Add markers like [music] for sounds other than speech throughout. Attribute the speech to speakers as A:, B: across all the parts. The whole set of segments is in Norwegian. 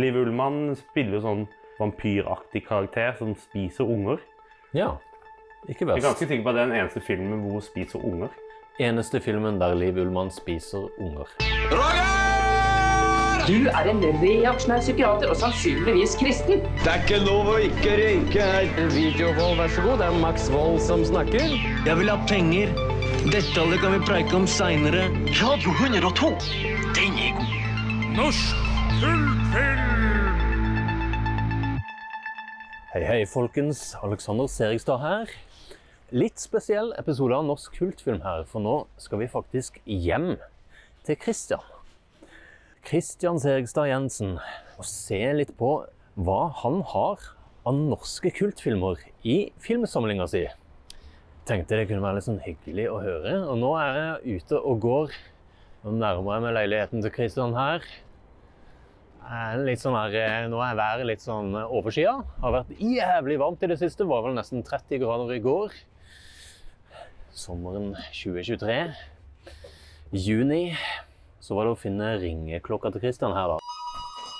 A: Liv Ullmann spiller jo sånn vampyraktig karakter som spiser unger.
B: Ja, ikke
A: Jeg er
B: verst.
A: ganske sikker på at det er den eneste filmen hvor hun spiser unger.
B: Eneste filmen der Liv Ullmann spiser unger.
C: Du er en reaksjonær psykiater og sannsynligvis kristen.
D: Det er ikke lov å ikke røyke her.
E: Videovold, vær så god. Det er Max Vold som snakker.
D: Jeg vil ha penger. Detaljer kan vi preike om seinere. Radio 102. Den er god.
B: Hei, hei, folkens. Alexander Serigstad her. Litt spesiell episode av Norsk kultfilm her, for nå skal vi faktisk hjem til Christian. Christian Serigstad Jensen. Og se litt på hva han har av norske kultfilmer i filmsamlinga si. Tenkte det kunne være litt sånn hyggelig å høre. Og nå er jeg ute og går. Nå nærmer jeg meg leiligheten til Christian her. Er det Litt sånn her, eh, nå er været litt sånn eh, overskya. Har vært jævlig varmt i det siste. Var vel nesten 30 grader i går. Sommeren 2023. Juni. Så var det å finne ringeklokka til Christian her, da.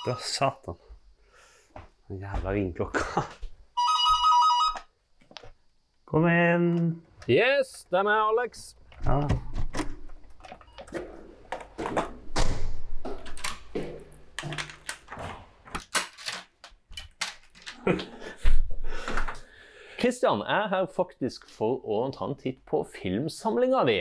A: Da satan. Den jævla ringeklokka. Kom igjen.
B: Yes, det er meg, Alex.
A: Ja.
B: Christian er her faktisk for å ta en titt på filmsamlinga di.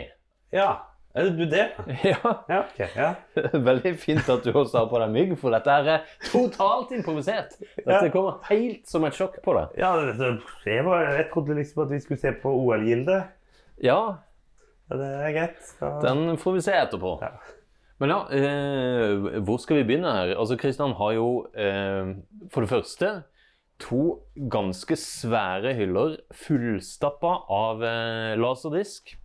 A: ja. Er det du det?
B: [laughs] Ja,
A: Ja, ok. Ja.
B: [laughs] Veldig fint at du også har på deg mygg, for dette her er totalt improvisert. Dette
A: Ja.
B: kommer helt som et sjokk på deg.
A: ja det, det, jeg, var, jeg trodde liksom at vi skulle se på OL-gildet.
B: Ja,
A: Ja, det er greit. Skal-
B: Den får vi se etterpå.
A: Ja.
B: Men ja, eh, hvor skal vi begynne her? Altså, Kristian har jo eh, for det første to ganske svære hyller fullstappa av eh, laserdisk.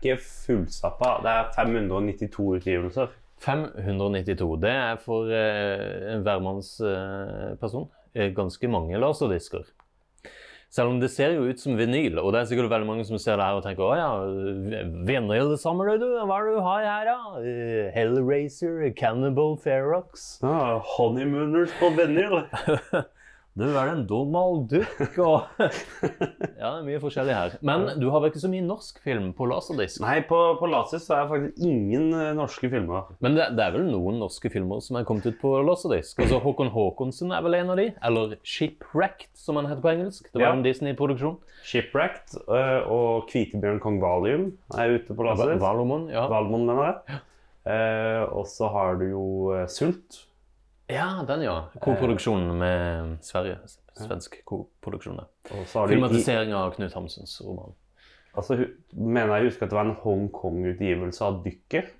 A: ikke fullstappa. Det er 592 utgivelser.
B: 592. Det er for eh, en hvermannsperson eh, person, eh, ganske mange laserdisker. Selv om det ser jo ut som vinyl, og det er sikkert veldig mange som ser det her og tenker «Å ja, vinyl samler du? Hva er det du har her, da? Eh, Hellraiser, Cannibal Ferox [laughs]
A: Ah, honeymooners på vinyl.
B: Du er en domal dukk og [laughs] Ja, det er mye forskjellig her. Men du har vel ikke så mye norsk film på laserdisk?
A: Nei, på, på Lasis så er det faktisk ingen eh, norske filmer.
B: Men det, det er vel noen norske filmer som er kommet ut på laserdisk? Altså Håkon Håkonsen er vel en av de? Eller Shipwrecked, som han heter på engelsk. Det var
A: Ja.
B: en Disney-produksjon.
A: Shipwrecked eh, og Kvitebjørn Kong Valium er ute på
B: Va-
A: Lasis.
B: Valomon, ja.
A: Valmon, mener jeg. Eh, og så har du jo eh, Sult.
B: ja, den, ja. Koproduksjonen med Sverige. Svensk koproduksjon. der.
A: Og så har du i,
B: Filmatisering av Knut Hamsuns roman.
A: altså, hu- mener jeg husker at det var en Hongkong-utgivelse av Dykker.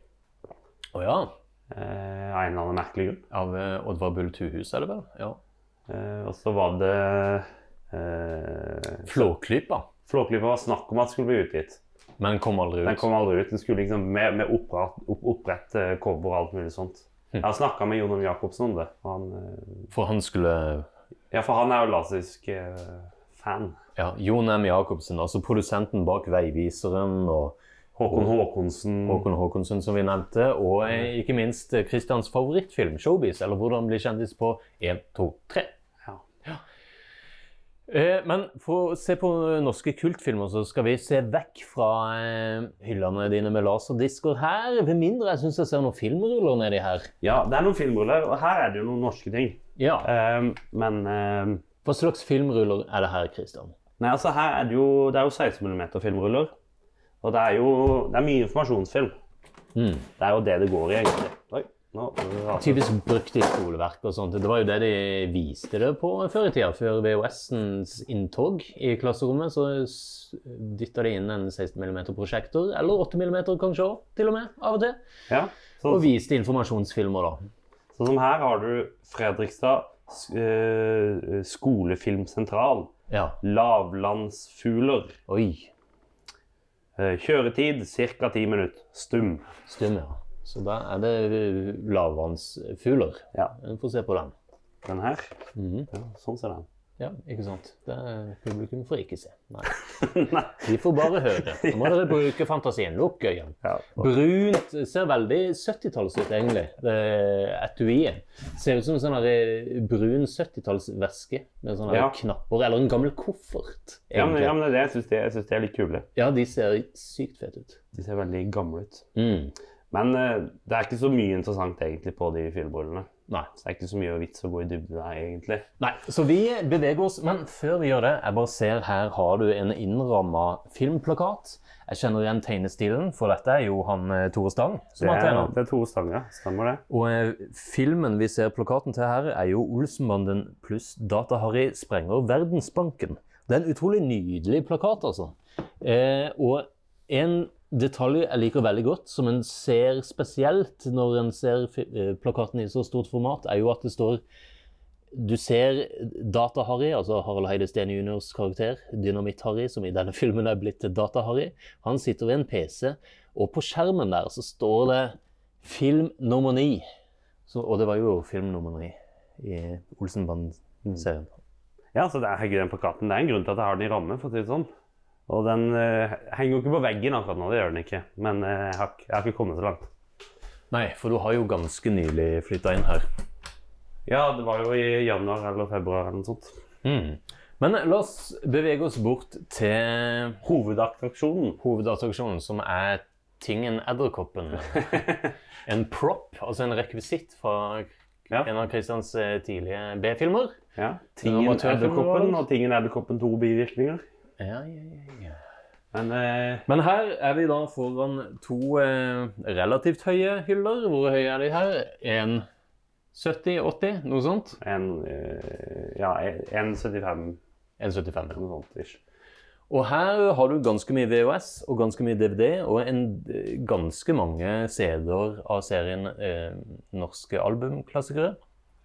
B: Å ja.
A: eh, Av en eller annen merkelig grunn.
B: Av eh, Oddvar Bull Tuhus, er det vel? Ja.
A: Eh, og så var det eh,
B: Flåklypa.
A: Flåklypa var snakk om at skulle bli utgitt.
B: Men kom aldri ut.
A: Den kom aldri ut. Den skulle liksom med, med opprett, opp, opprett eh, cover og alt mulig sånt.
B: Hm.
A: Jeg har snakka med Jon Om Jacobsen om det. og Han, eh,
B: For han skulle
A: ja, for han er jo lasisk eh, fan.
B: ja, Jon M. Jacobsen, altså produsenten bak Veiviseren og
A: Håkon Håkonsen.
B: Håkon Håkonsen, som vi nevnte, og eh, ikke minst eh, Christians favorittfilm, 'Showbiz', eller 'Hvordan bli kjendis' på 1, 2, 3.
A: Ja.
B: Eh, Men for å se på eh, norske kultfilmer, så skal vi se vekk fra eh, hyllene dine med laserdisker her. Med mindre jeg syns jeg ser noen filmruller nedi her.
A: ja, det er noen filmruller, og her er det jo noen norske ting.
B: Ja.
A: Eh, men eh,
B: Hva slags filmruller er det her, Christian?
A: Nei, altså her er det jo, det er jo 16 mm filmruller. Og det er jo det er mye informasjonsfilm.
B: Mm.
A: Det er jo det det går i, egentlig. Oi, nå raser det.
B: Typisk brukt i skoleverk og sånt. Det var jo det de viste det på før i tida. Før VHS-ens inntog i klasserommet, så dytta de inn en 16 mm-prosjektor, eller 8 mm kanskje òg, til og med, av og til.
A: Ja, så,
B: Og viste informasjonsfilmer, da.
A: Sånn som her har du Fredrikstad s- eh, skolefilmsentral.
B: Ja.
A: Lavlandsfugler.
B: Oi.
A: Eh, Kjøretid ca. 10 minutter. Stum.
B: Stum, ja. Så da er det lavvannsfugler.
A: Ja.
B: Vi får se på den.
A: Den her.
B: Mhm.
A: Ja, sånn ser den.
B: Ja, ikke sant. Det er, publikum får ikke se. Nei.
A: [laughs] Nei.
B: De får bare høre. Nå må dere bruke fantasien. Lukk øynene.
A: Ja.
B: Brunt ser veldig 70-talls ut, egentlig. Det etuiet. Ser ut som en sånn her brun 70-tallsveske med sånne her
A: Ja.
B: knapper. Eller en gammel koffert.
A: Ja, men,
B: egentlig.
A: ja, men det er det. Jeg syns de, jeg synes de er litt kule.
B: Ja, de ser sykt fete ut.
A: De ser veldig gamle ut.
B: Mm.
A: Men eh, det er ikke så mye interessant egentlig på de fjellbollene.
B: Nei.
A: Så det er ikke så mye vits å gå i dybden der, egentlig.
B: Nei, så vi beveger oss, men før vi gjør det, jeg bare ser her har du en innramma filmplakat. Jeg kjenner igjen tegnestilen, for dette er jo han eh, Tore Stang som
A: Det
B: har
A: er,
B: tegna.
A: det er to stanger, stemmer det?
B: Og eh, filmen vi ser plakaten til her, er jo Olsenbanden pluss Data-Harry sprenger Verdensbanken. Det er en utrolig nydelig plakat, altså. Eh, og en detalj jeg liker veldig godt, som en ser spesielt når en ser fi- eh, plakaten i så stort format, er jo at det står du ser Data-Harry, altså Harald Heide Steen juniors karakter, Dynamitt-Harry, som i denne filmen er blitt til Data-Harry. Han sitter ved en PC, og på skjermen der så står det film nummer ni. Så, og det var jo film nummer ni i Olsenband-serien.
A: Ja, så det er, herregud, den plakaten, det er en grunn til at jeg har den i ramme, for å si det sånn. Og den eh, henger jo ikke på veggen akkurat nå, det gjør den ikke. Men eh, jeg, har, ikke- jeg har ikke kommet så langt.
B: Nei, for du har jo ganske nylig flytta inn her.
A: Ja, det var jo i januar eller februar eller noe sånt.
B: Mm. Men la oss bevege oss bort til
A: Hovedattraksjonen.
B: hovedattraksjonen, som er tingen Edderkoppen. En prop, altså en rekvisitt fra
A: Ja.
B: en av Christians eh, tidlige B-filmer.
A: [laughs] Ja. Tingen
B: amatørfilmen,
A: Edderkoppen
B: var det?
A: og Tingen Edderkoppen to bivirkninger.
B: Ja, ja, ja, ja.
A: Men eh,
B: Men her er vi da foran to eh, relativt høye hyller. Hvor høye er de her? 1,70-80, noe sånt?
A: en eh, Ja, 1,75
B: 1,75.
A: eller noe sånt. ish.
B: Og her har du ganske mye VHS og ganske mye DVD og en, eh, ganske mange CD-er av serien eh, norske albumklassikere.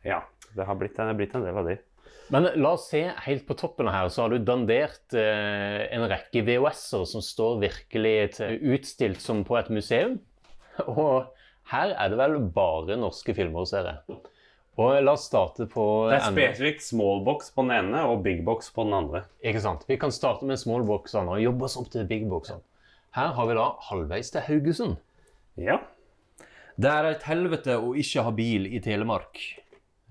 A: Ja, det har blitt, det har blitt en del av de.
B: Men la oss se helt på toppen her, så har du dandert eh, en rekke VHS-er som står virkelig til, utstilt som på et museum. [laughs] Og her er det vel bare norske filmer og serier. Og la oss starte på
A: Det er
B: enden.
A: spesifikt small box på den ene og big box på den andre.
B: Ikke sant? Vi kan starte med smallboxene og jobbe oss opp til bigboxene. Her har vi da halvveis til Haugesund.
A: Ja.
B: Det er et helvete å ikke ha bil i Telemark.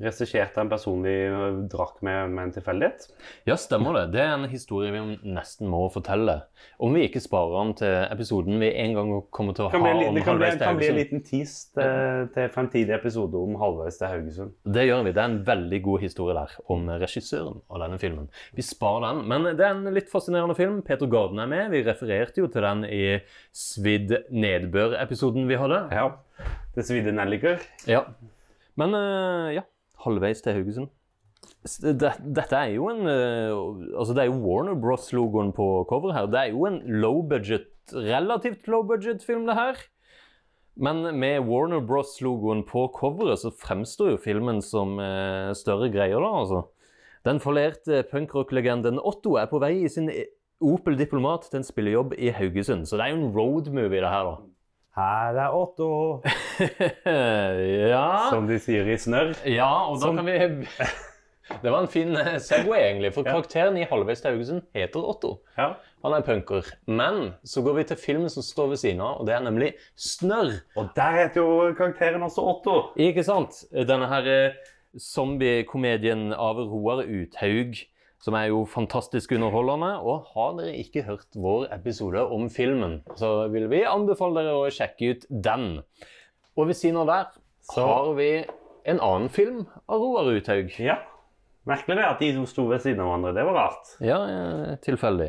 A: Regissert av en person vi øh, drakk med med en tilfeldighet.
B: Ja, stemmer det. Det er en historie vi nesten må fortelle. Om vi ikke sparer den til episoden vi en gang kommer til å
A: Kan bli
B: ha
A: en li-
B: om
A: Det kan bli,
B: halvveis til
A: kan bli en
B: Haugesund.
A: liten tease til, til fremtidig episode om halvveis til Haugesund.
B: Det gjør vi. Det er en veldig god historie der om regissøren av denne filmen. Vi sparer den, men det er en litt fascinerende film. Peter Garden er med. Vi refererte jo til den i Svidd nedbør-episoden vi hadde.
A: Ja. Det svidde nelliker.
B: Ja. Men eh, ja, halvveis til Haugesund. S- det- Dette er jo en eh, Altså, det er jo Warner Bros.-logoen på coveret her. Det er jo en low budget, relativt low budget-film, det her. Men med Warner Bros.-logoen på coveret så fremstår jo filmen som eh, større greier, da, altså. Den forlerte punkrock-legenden Otto er på vei i sin eh, Opel Diplomat til en spillejobb i Haugesund. Så det er jo en roadmovie, det her, da. [laughs]
A: Her er Otto,
B: ja.
A: som de sier i Snørr.
B: Ja, og da
A: Som-
B: kan vi [laughs] Det var en fin eh, Segway, egentlig. For karakteren i Halvveis til Haugesund heter Otto.
A: Ja.
B: Han er punker. Men så går vi til filmen som står ved siden av, og det er nemlig Snørr.
A: Og der heter jo karakteren også Otto.
B: Ikke sant? Denne her eh, zombiekomedien av Roar Uthaug, som er jo fantastisk underholdende. Og har dere ikke hørt vår episode om filmen, så vil vi anbefale dere å sjekke ut den. Og ved siden av der så har vi en annen film av Roar Uthaug.
A: Ja. Merkelig det at de som sto ved siden av hverandre. Det var rart.
B: Ja, eh, tilfeldig.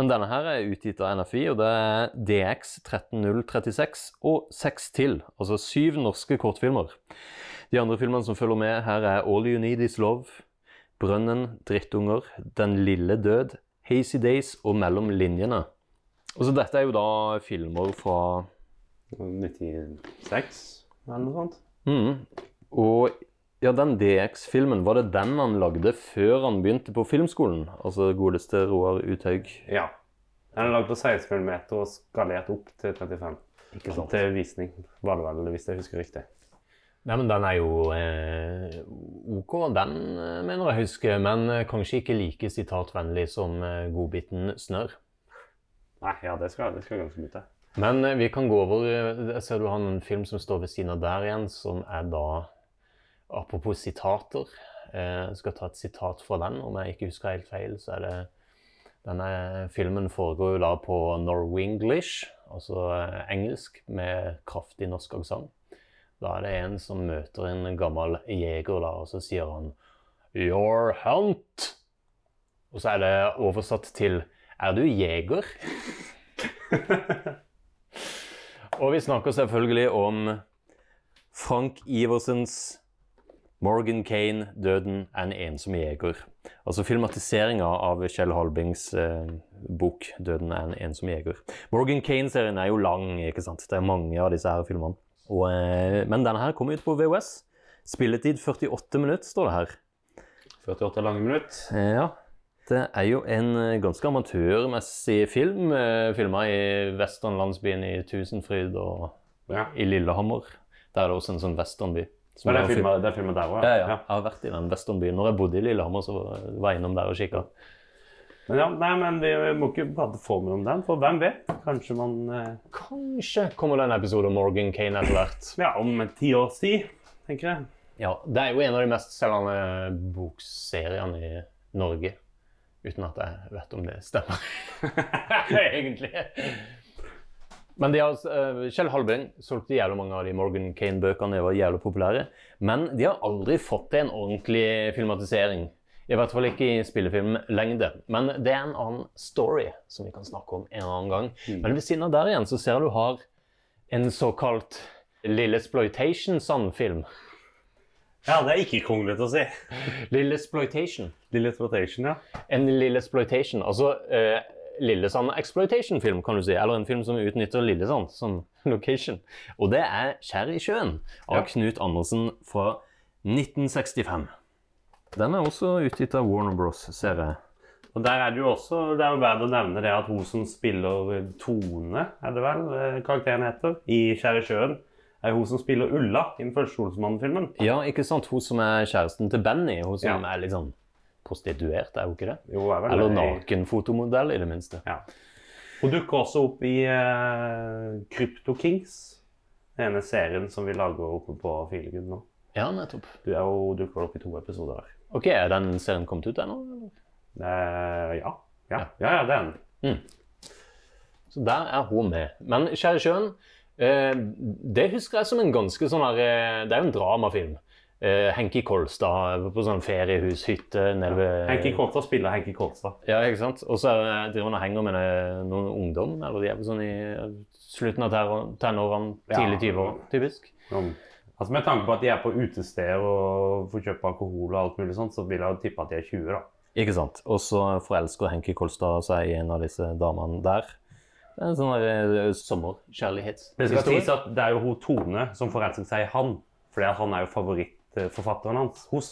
B: Men denne her er utgitt av NFI, og det er DX 13036 og seks til. Altså syv norske kortfilmer. De andre filmene som følger med her, er All You Need Is Love, Brønnen, Drittunger, Den lille død, Hazy Days og Mellom linjene. Og så dette er jo da filmer fra
A: 96 eller noe sånt.
B: Mhm. Og ja, den DX-filmen, var det den han lagde før han begynte på filmskolen? Altså godeste Roar Uthaug?
A: Ja. Den er lagd på 16 mm og skalert opp til 35. Ikke sant. Til visning, var det vel, hvis jeg husker riktig.
B: Nei, men den er jo eh, OK, den eh, mener jeg husker, men eh, kanskje ikke like sitatvennlig som eh, godbiten snørr.
A: Nei, ja, det skal, det skal ganske mye til.
B: Men eh, vi kan gå over eh, Jeg ser du har en film som står ved siden av der igjen, som er da Apropos sitater. eh, Jeg skal ta et sitat fra den. Om jeg ikke husker helt feil, så er det Denne filmen foregår jo da på Norwenglish, altså eh, engelsk, med kraftig norsk aksent. Da er det en som møter en gammel jeger, da, og så sier han Your hunt! Og så er det oversatt til Er du jeger? Og vi snakker selvfølgelig om Frank Iversens Morgan Kane, 'Døden er en ensom jeger'. Altså filmatiseringa av Kjell Halbings eh, bok 'Døden er en ensom jeger'. Morgan Kane-serien er jo lang, ikke sant? Det er mange av disse her filmene. Og, eh, men denne her kom ut på VOS. Spilletid 48 minutter, står det her.
A: 48 lange minutt.
B: Eh, Ja. Det er jo en eh, ganske amatørmessig film, filma i westernlandsbyen i Tusenfryd og
A: Ja.
B: i Lillehammer. Der er det også en sånn westernby. som
A: Men det er
B: jeg har
A: filmet, det er filmet der
B: fil-
A: også,
B: Ja, ja. Jeg har vært i den westernbyen. Når jeg bodde i Lillehammer, så var jeg innom der og kikka.
A: Men ja, nei, men vi må ikke prate for mye om den, for hvem vet? Kanskje man eh,
B: Kanskje kommer det en episode om Morgan Kane etter hvert.
A: Ja, om ti års tid, tenker [laughs] jeg.
B: Ja, Det er jo en av de mest selgende bokseriene i Norge. Uten at jeg vet om det stemmer, [laughs] egentlig. Men de har, eh, Kjell Halving solgte jævlig mange av de Morgan Kane-bøkene. De var jævlig populære. Men de har aldri fått til en ordentlig filmatisering. I hvert fall ikke i spillefilmlengde. Men det er en annen story som vi kan snakke om en annen gang. Men ved siden av der igjen så ser jeg du har en såkalt Lillesploitation-sandfilm.
A: Ja, det er ikke kronglete å si.
B: Lillesploitation.
A: Lille Exploitation, ja.
B: En lillesploitation. Altså eh, Lillesand exploitation-film, kan du si. Eller en film som utnytter Lillesand som [laughs] location. Og det er 'Skjær i sjøen' av
A: Ja.
B: Knut Andersen fra 1965. Den er også utgitt av Warner Bros, ser jeg.
A: Og der er det jo også, det er jo verdt å nevne det at hun som spiller Tone, er det vel eh, karakteren heter, i Skjære sjøen, er hun som spiller Ulla i den første Olsenmannen-filmen.
B: Ja, ikke sant? Hun som er kjæresten til Benny. Hun som
A: Ja.
B: er litt sånn prostituert, er hun ikke det?
A: Jo, er vel
B: Eller
A: det.
B: nakenfotomodell, i det minste.
A: Ja. Hun dukker også opp i eh, Crypto Kings, den ene serien som vi lager oppe på Filegud nå.
B: Ja, nettopp.
A: Du er jo hun dukker opp i to episoder her.
B: Ok, Er den serien kommet ut ennå? eller?
A: Eh, ja. Ja, ja, ja, det er den.
B: Så der er hun med. Men Kjære sjøen, eh, det husker jeg som en ganske sånn her eh, Det er jo en dramafilm. Eh, Henki Kolstad på sånn feriehushytte nede ved
A: Henki Kolstad spiller Henki Kolstad.
B: Ja, ikke sant? Og så eh, driver han og henger med eh, noen ungdom, eller de er vel sånn i eh, slutten av terror- tenårene, tidlig
A: Ja.
B: 20 år, typisk.
A: Sånn. Altså Med tanke på at de er på utesteder og får kjøpe alkohol og alt mulig sånt, så vil jeg jo tippe at de er 20, da.
B: Ikke sant. Og så forelsker Henki Kolstad seg i en av disse damene der. Det er en sånn der, eh,
A: Det skal sies
B: sommerkjærlighetshistorie.
A: at det er jo hun Tone som forelsker seg i han, fordi at han er jo favorittforfatteren hans hos.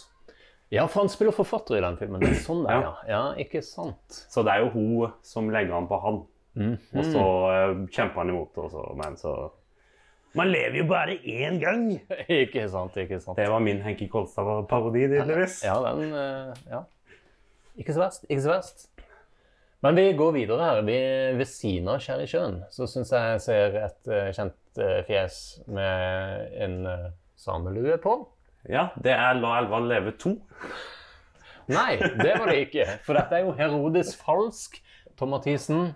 B: Ja, for han spiller forfatter i den filmen. Det er sånn det er,
A: Ja.
B: ja. ja. Ikke sant.
A: Så det er jo hun som legger an på han.
B: Mhm.
A: Og så eh, kjemper han imot, og så, men så Man lever jo bare én gang!
B: [laughs] Ikke sant, ikke sant.
A: Det var min Henki Kolstad-parodi, tydeligvis.
B: Ja, den eh, Ja. Ikke så verst, ikke så verst. Men vi går videre her. Vi, ved siden av Skjær i sjøen så syns jeg jeg ser et eh, kjent eh, fjes med en eh, samelue på.
A: Ja, det er La elva leve 2.
B: Nei, det var det ikke. For dette er jo Herodes Falsk, Tom Mathisen,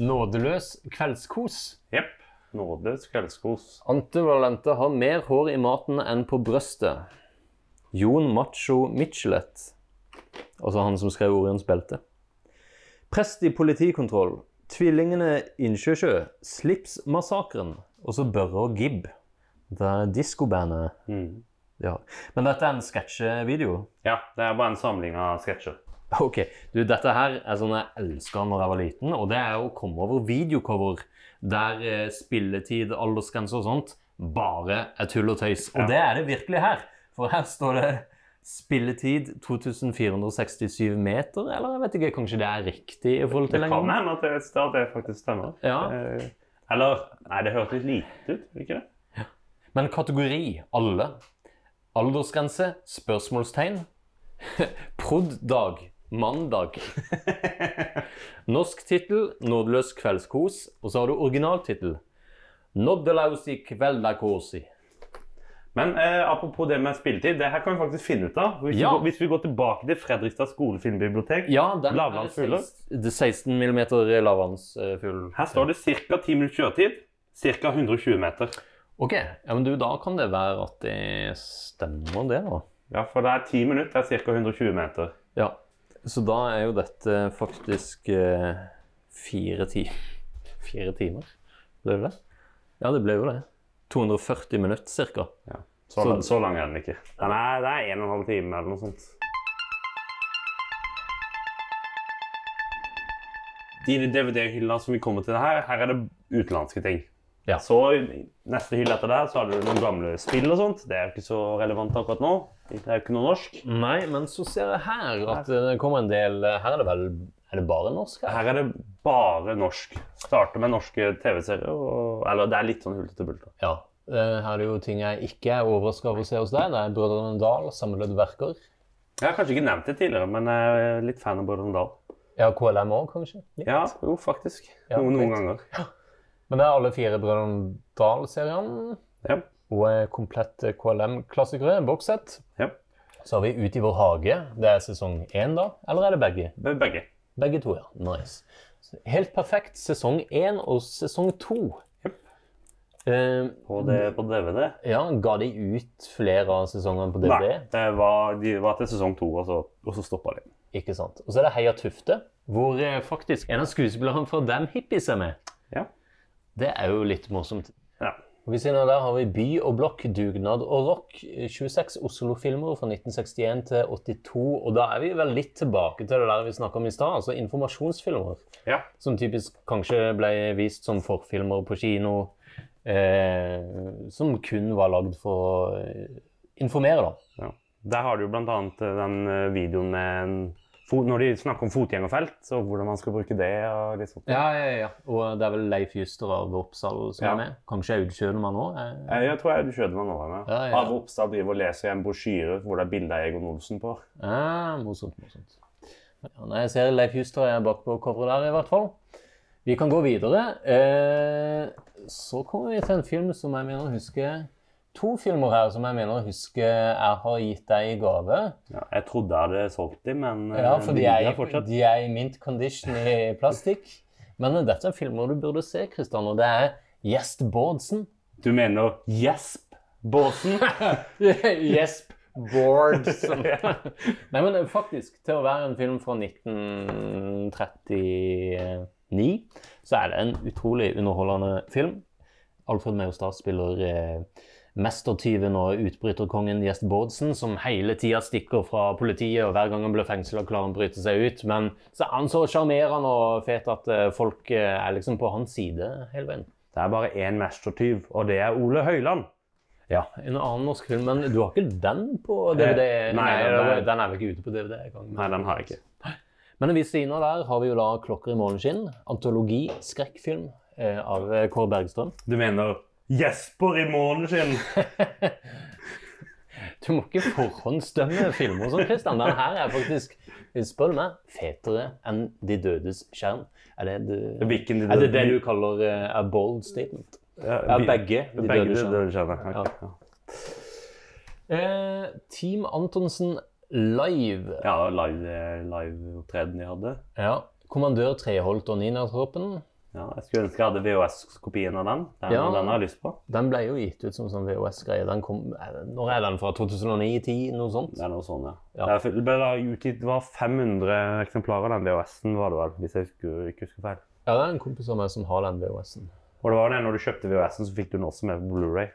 B: nådeløs kveldskos.
A: Jepp. Nådes kveldskos.
B: Ante Valente har mer hår i maten enn på brøstet. Jon Macho Michelet, altså han som skrev Orions belte. Prest i politikontroll. Tvillingene Innsjøsjø. Slipsmassakren. Og så Børre og Gibb. Det er diskobandet.
A: Mm.
B: Ja. Men dette er en sketsjevideo.
A: Ja, det er bare en samling av sketsjer.
B: [laughs] Ok, du, dette her er sånn jeg elsket når jeg var liten, og det er å komme over videocover der eh, spilletid, aldersgrense og sånt bare er tull og tøys. Og
A: Ja.
B: det er det virkelig her, for her står det spilletid 2467 meter, eller jeg vet ikke, kanskje det er riktig i forhold
A: Det
B: til
A: kan
B: lengden?
A: hende at det, at det faktisk stemmer.
B: Ja.
A: Eh, Eller Nei, det hørtes litt lite ut, ikke det?
B: Men kategori, alle. Aldersgrense? Spørsmålstegn. [laughs] Prod.dag. Mandag. Norsk tittel 'Nådeløs kveldskos', og så har du originaltittel 'Nådelausi kveldakosi'.
A: Men eh, apropos det med spilletid, det her kan vi faktisk finne ut av. Hvis,
B: Ja.
A: vi, går, hvis vi går tilbake til Fredrikstad skolefilmbibliotek
B: Ja, den
A: Lavlands fugler.
B: er det 16 mm lavlandsfugl.
A: Her står det ca. 10 minutter kjøretid. Ca. 120 meter.
B: OK. Ja, men du, da kan det være at det stemmer, det, da.
A: Ja, for det er 10 minutter, det er ca. 120 meter.
B: Ja. Så da er jo dette faktisk eh, fire, ti [laughs] fire timer. Ble det det? Ja, det ble jo det. 240 minutter ca.
A: Så,
B: Så-
A: la- så lang er den ikke. Den er, det er en og en halv time eller noe sånt. De DVD-hyllene som vi kommer til her, her er det utenlandske ting.
B: Ja.
A: Så i neste hylle etter der så har du noen gamle spill og sånt. Det er jo ikke så relevant akkurat nå. Det er jo ikke noe norsk.
B: Nei, men så ser jeg her at det kommer en del eh, Her er det vel Er det bare norsk her?
A: Her er det bare norsk. Starter med norske TV-serier. og- Eller det er litt sånn hultete bulter.
B: Ja. Eh, Her er det jo ting jeg ikke er overraska over å se hos deg. Det er Brødrene Dal, Samlede verker.
A: Jeg har kanskje ikke nevnt det tidligere, men jeg er litt fan av Brødrene Dal.
B: Ja, KLM òg, kanskje? Litt.
A: Ja, jo, faktisk.
B: Ja,
A: Noen, noen
B: litt.
A: ganger.
B: Men det er alle fire Brødrene Dal-seriene.
A: Ja.
B: Og eh, komplette KLM-klassikere, bokssett.
A: Ja.
B: Så har vi Ute i vår hage. Det er sesong én, da? Eller er det begge?
A: Be- Begge.
B: Begge to, ja. Nice. Så Helt perfekt sesong én og sesong to.
A: Jep.
B: Eh,
A: På, det, på DVD.
B: ja, ga de ut flere av sesongene på DVD?
A: Nei, det var, de var til sesong to, og så, og så stoppa de.
B: Ikke sant. Og så er det Heia Tufte, hvor eh, faktisk en av skuespillerne fra Dem Hippies er med.
A: Ja.
B: Det er jo litt morsomt.
A: Ja.
B: Og Ved siden av der har vi By og blokk, dugnad og rock. 26 Oslo-filmer fra 1961 til 82. Og da er vi vel litt tilbake til det der vi snakka om i stad, altså informasjonsfilmer.
A: Ja.
B: Som typisk kanskje ble vist som forfilmer på kino. Eh, som kun var lagd for å eh, informere, da.
A: Der har du jo blant annet eh, den eh, videoen med en fo- når de snakker om fotgjengerfelt og hvordan man skal bruke det. og liksom.
B: Ja, ja, ja. Og det er vel Leif Juster av Oppsal som
A: Ja.
B: er med. Kanskje Aud Schønemann òg? Eh,
A: Jeg, jeg tror jeg du skjønner hva nå er med.
B: Ja, ja.
A: Arve Oppstad driver og leser i en brosjyre hvor det er bilde av Egon Olsen på.
B: ah, morsomt, morsomt. Ja, nei, jeg ser Leif Juster er bak på coveret der, i hvert fall. Vi kan gå videre. Eh, så kommer vi til en film som jeg mener å huske To filmer her som jeg mener å huske jeg har gitt deg i gave.
A: Ja, jeg trodde jeg hadde solgt dem, men eh,
B: Ja, for de er,
A: ligger der
B: i-
A: fortsatt.
B: de er i mint condition i plastikk. Men dette er filmer du burde se, Kristian, og det er Gjest Bårdsen.
A: Du mener Gjesp
B: [laughs]
A: Båsen?
B: Gjesp. Bored. [laughs] Nei, men eh, faktisk, til å være en film fra 1939, så er det en utrolig underholdende film. Alfred Maustad spiller eh, mestertyven og utbryterkongen Gjest Bårdsen, som hele tida stikker fra politiet, og hver gang han blir fengsla, klarer han å bryte seg ut. Men så er han så sjarmerende og fet at eh, folk eh, er liksom på hans side hele veien.
A: Det er bare én mestertyv, og det er Ole Høiland.
B: Ja, en annen norsk film, men du har ikke den på DVD?
A: Eh, nei,
B: den, er,
A: det-
B: den er vel ikke ute på DVD? Jeg kan.
A: Nei, den har jeg ikke.
B: Men ved siden av der har vi jo da 'Klokker i måneskinn', antologi, skrekkfilm eh, av eh, Kåre Bergstrøm.
A: Du mener Jesper i måneskinn?
B: Du må ikke forhåndsdømme filmer som Christian. Den her er faktisk, spør du meg, fetere enn De dødes skjerm. Er det det,
A: Hvilken
B: er det, det du kaller eh, a bold statement? Ja, begge. De
A: Begge
B: døde
A: de
B: skjønner.
A: døde skjønner.
B: Ja.
A: Ok, ja.
B: Eh, Team Antonsen live.
A: Ja, live- live-opptreden de hadde.
B: Ja. Kommandør Treholt og Nina-troppen.
A: Ja, jeg skulle ønske jeg hadde VHS-kopien av den. Den,
B: Ja.
A: den har jeg lyst på.
B: Den ble jo gitt ut som sånn VHS-greie. Den kom, er det- Når er den fra? 2009-10? Noe sånt?
A: Det er noe sånn, ja.
B: Ja.
A: Det er- Det ble da utgitt det var 500 eksemplarer av den VHS-en, var det vel, hvis jeg husker, ikke husker feil.
B: Ja, det er en kompis av meg som har den VHS-en.
A: Og det var det, når du kjøpte VHS-en, så fikk du den også med på Blu-ray.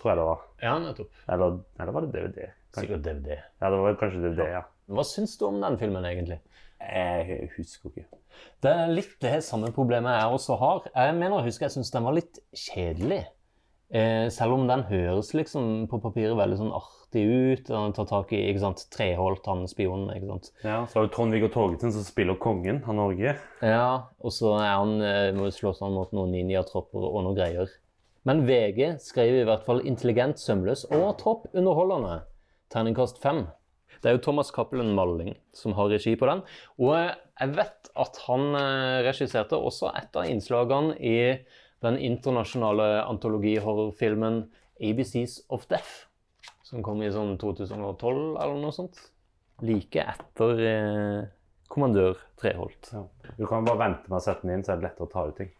A: Tror jeg det var.
B: Ja, nettopp.
A: Eller, eller var det DVD? Kanskje.
B: Sikkert DVD.
A: Ja, det var kanskje DVD, ja.
B: Hva syns du om den filmen, egentlig?
A: Jeg husker ikke.
B: Det er litt det samme problemet jeg også har. Jeg mener, jeg husker jeg syns den var litt kjedelig. Eh, selv om den høres liksom på papiret veldig sånn artig ut. og Den tar tak i ikke sant, Treholt, han spionen. ikke sant?
A: Ja, så har du Trond-Viggo Torgersen som spiller kongen av Norge.
B: Ja, og så er han, eh, må jo slåss han mot noen ninjatropper og noen greier. Men VG skrev i hvert fall intelligent, sømløs og topp underholdende. Terningkast fem. Det er jo Thomas Cappelen Malling som har regi på den. Og eh, jeg vet at han eh, regisserte også et av innslagene i den internasjonale antologihorrorfilmen ABCs of Death, som kom i sånn 2012 eller noe sånt. Like etter eh, Kommandør Treholt.
A: Ja. Du kan bare vente med å sette den inn, så er det lettere å ta ut ting.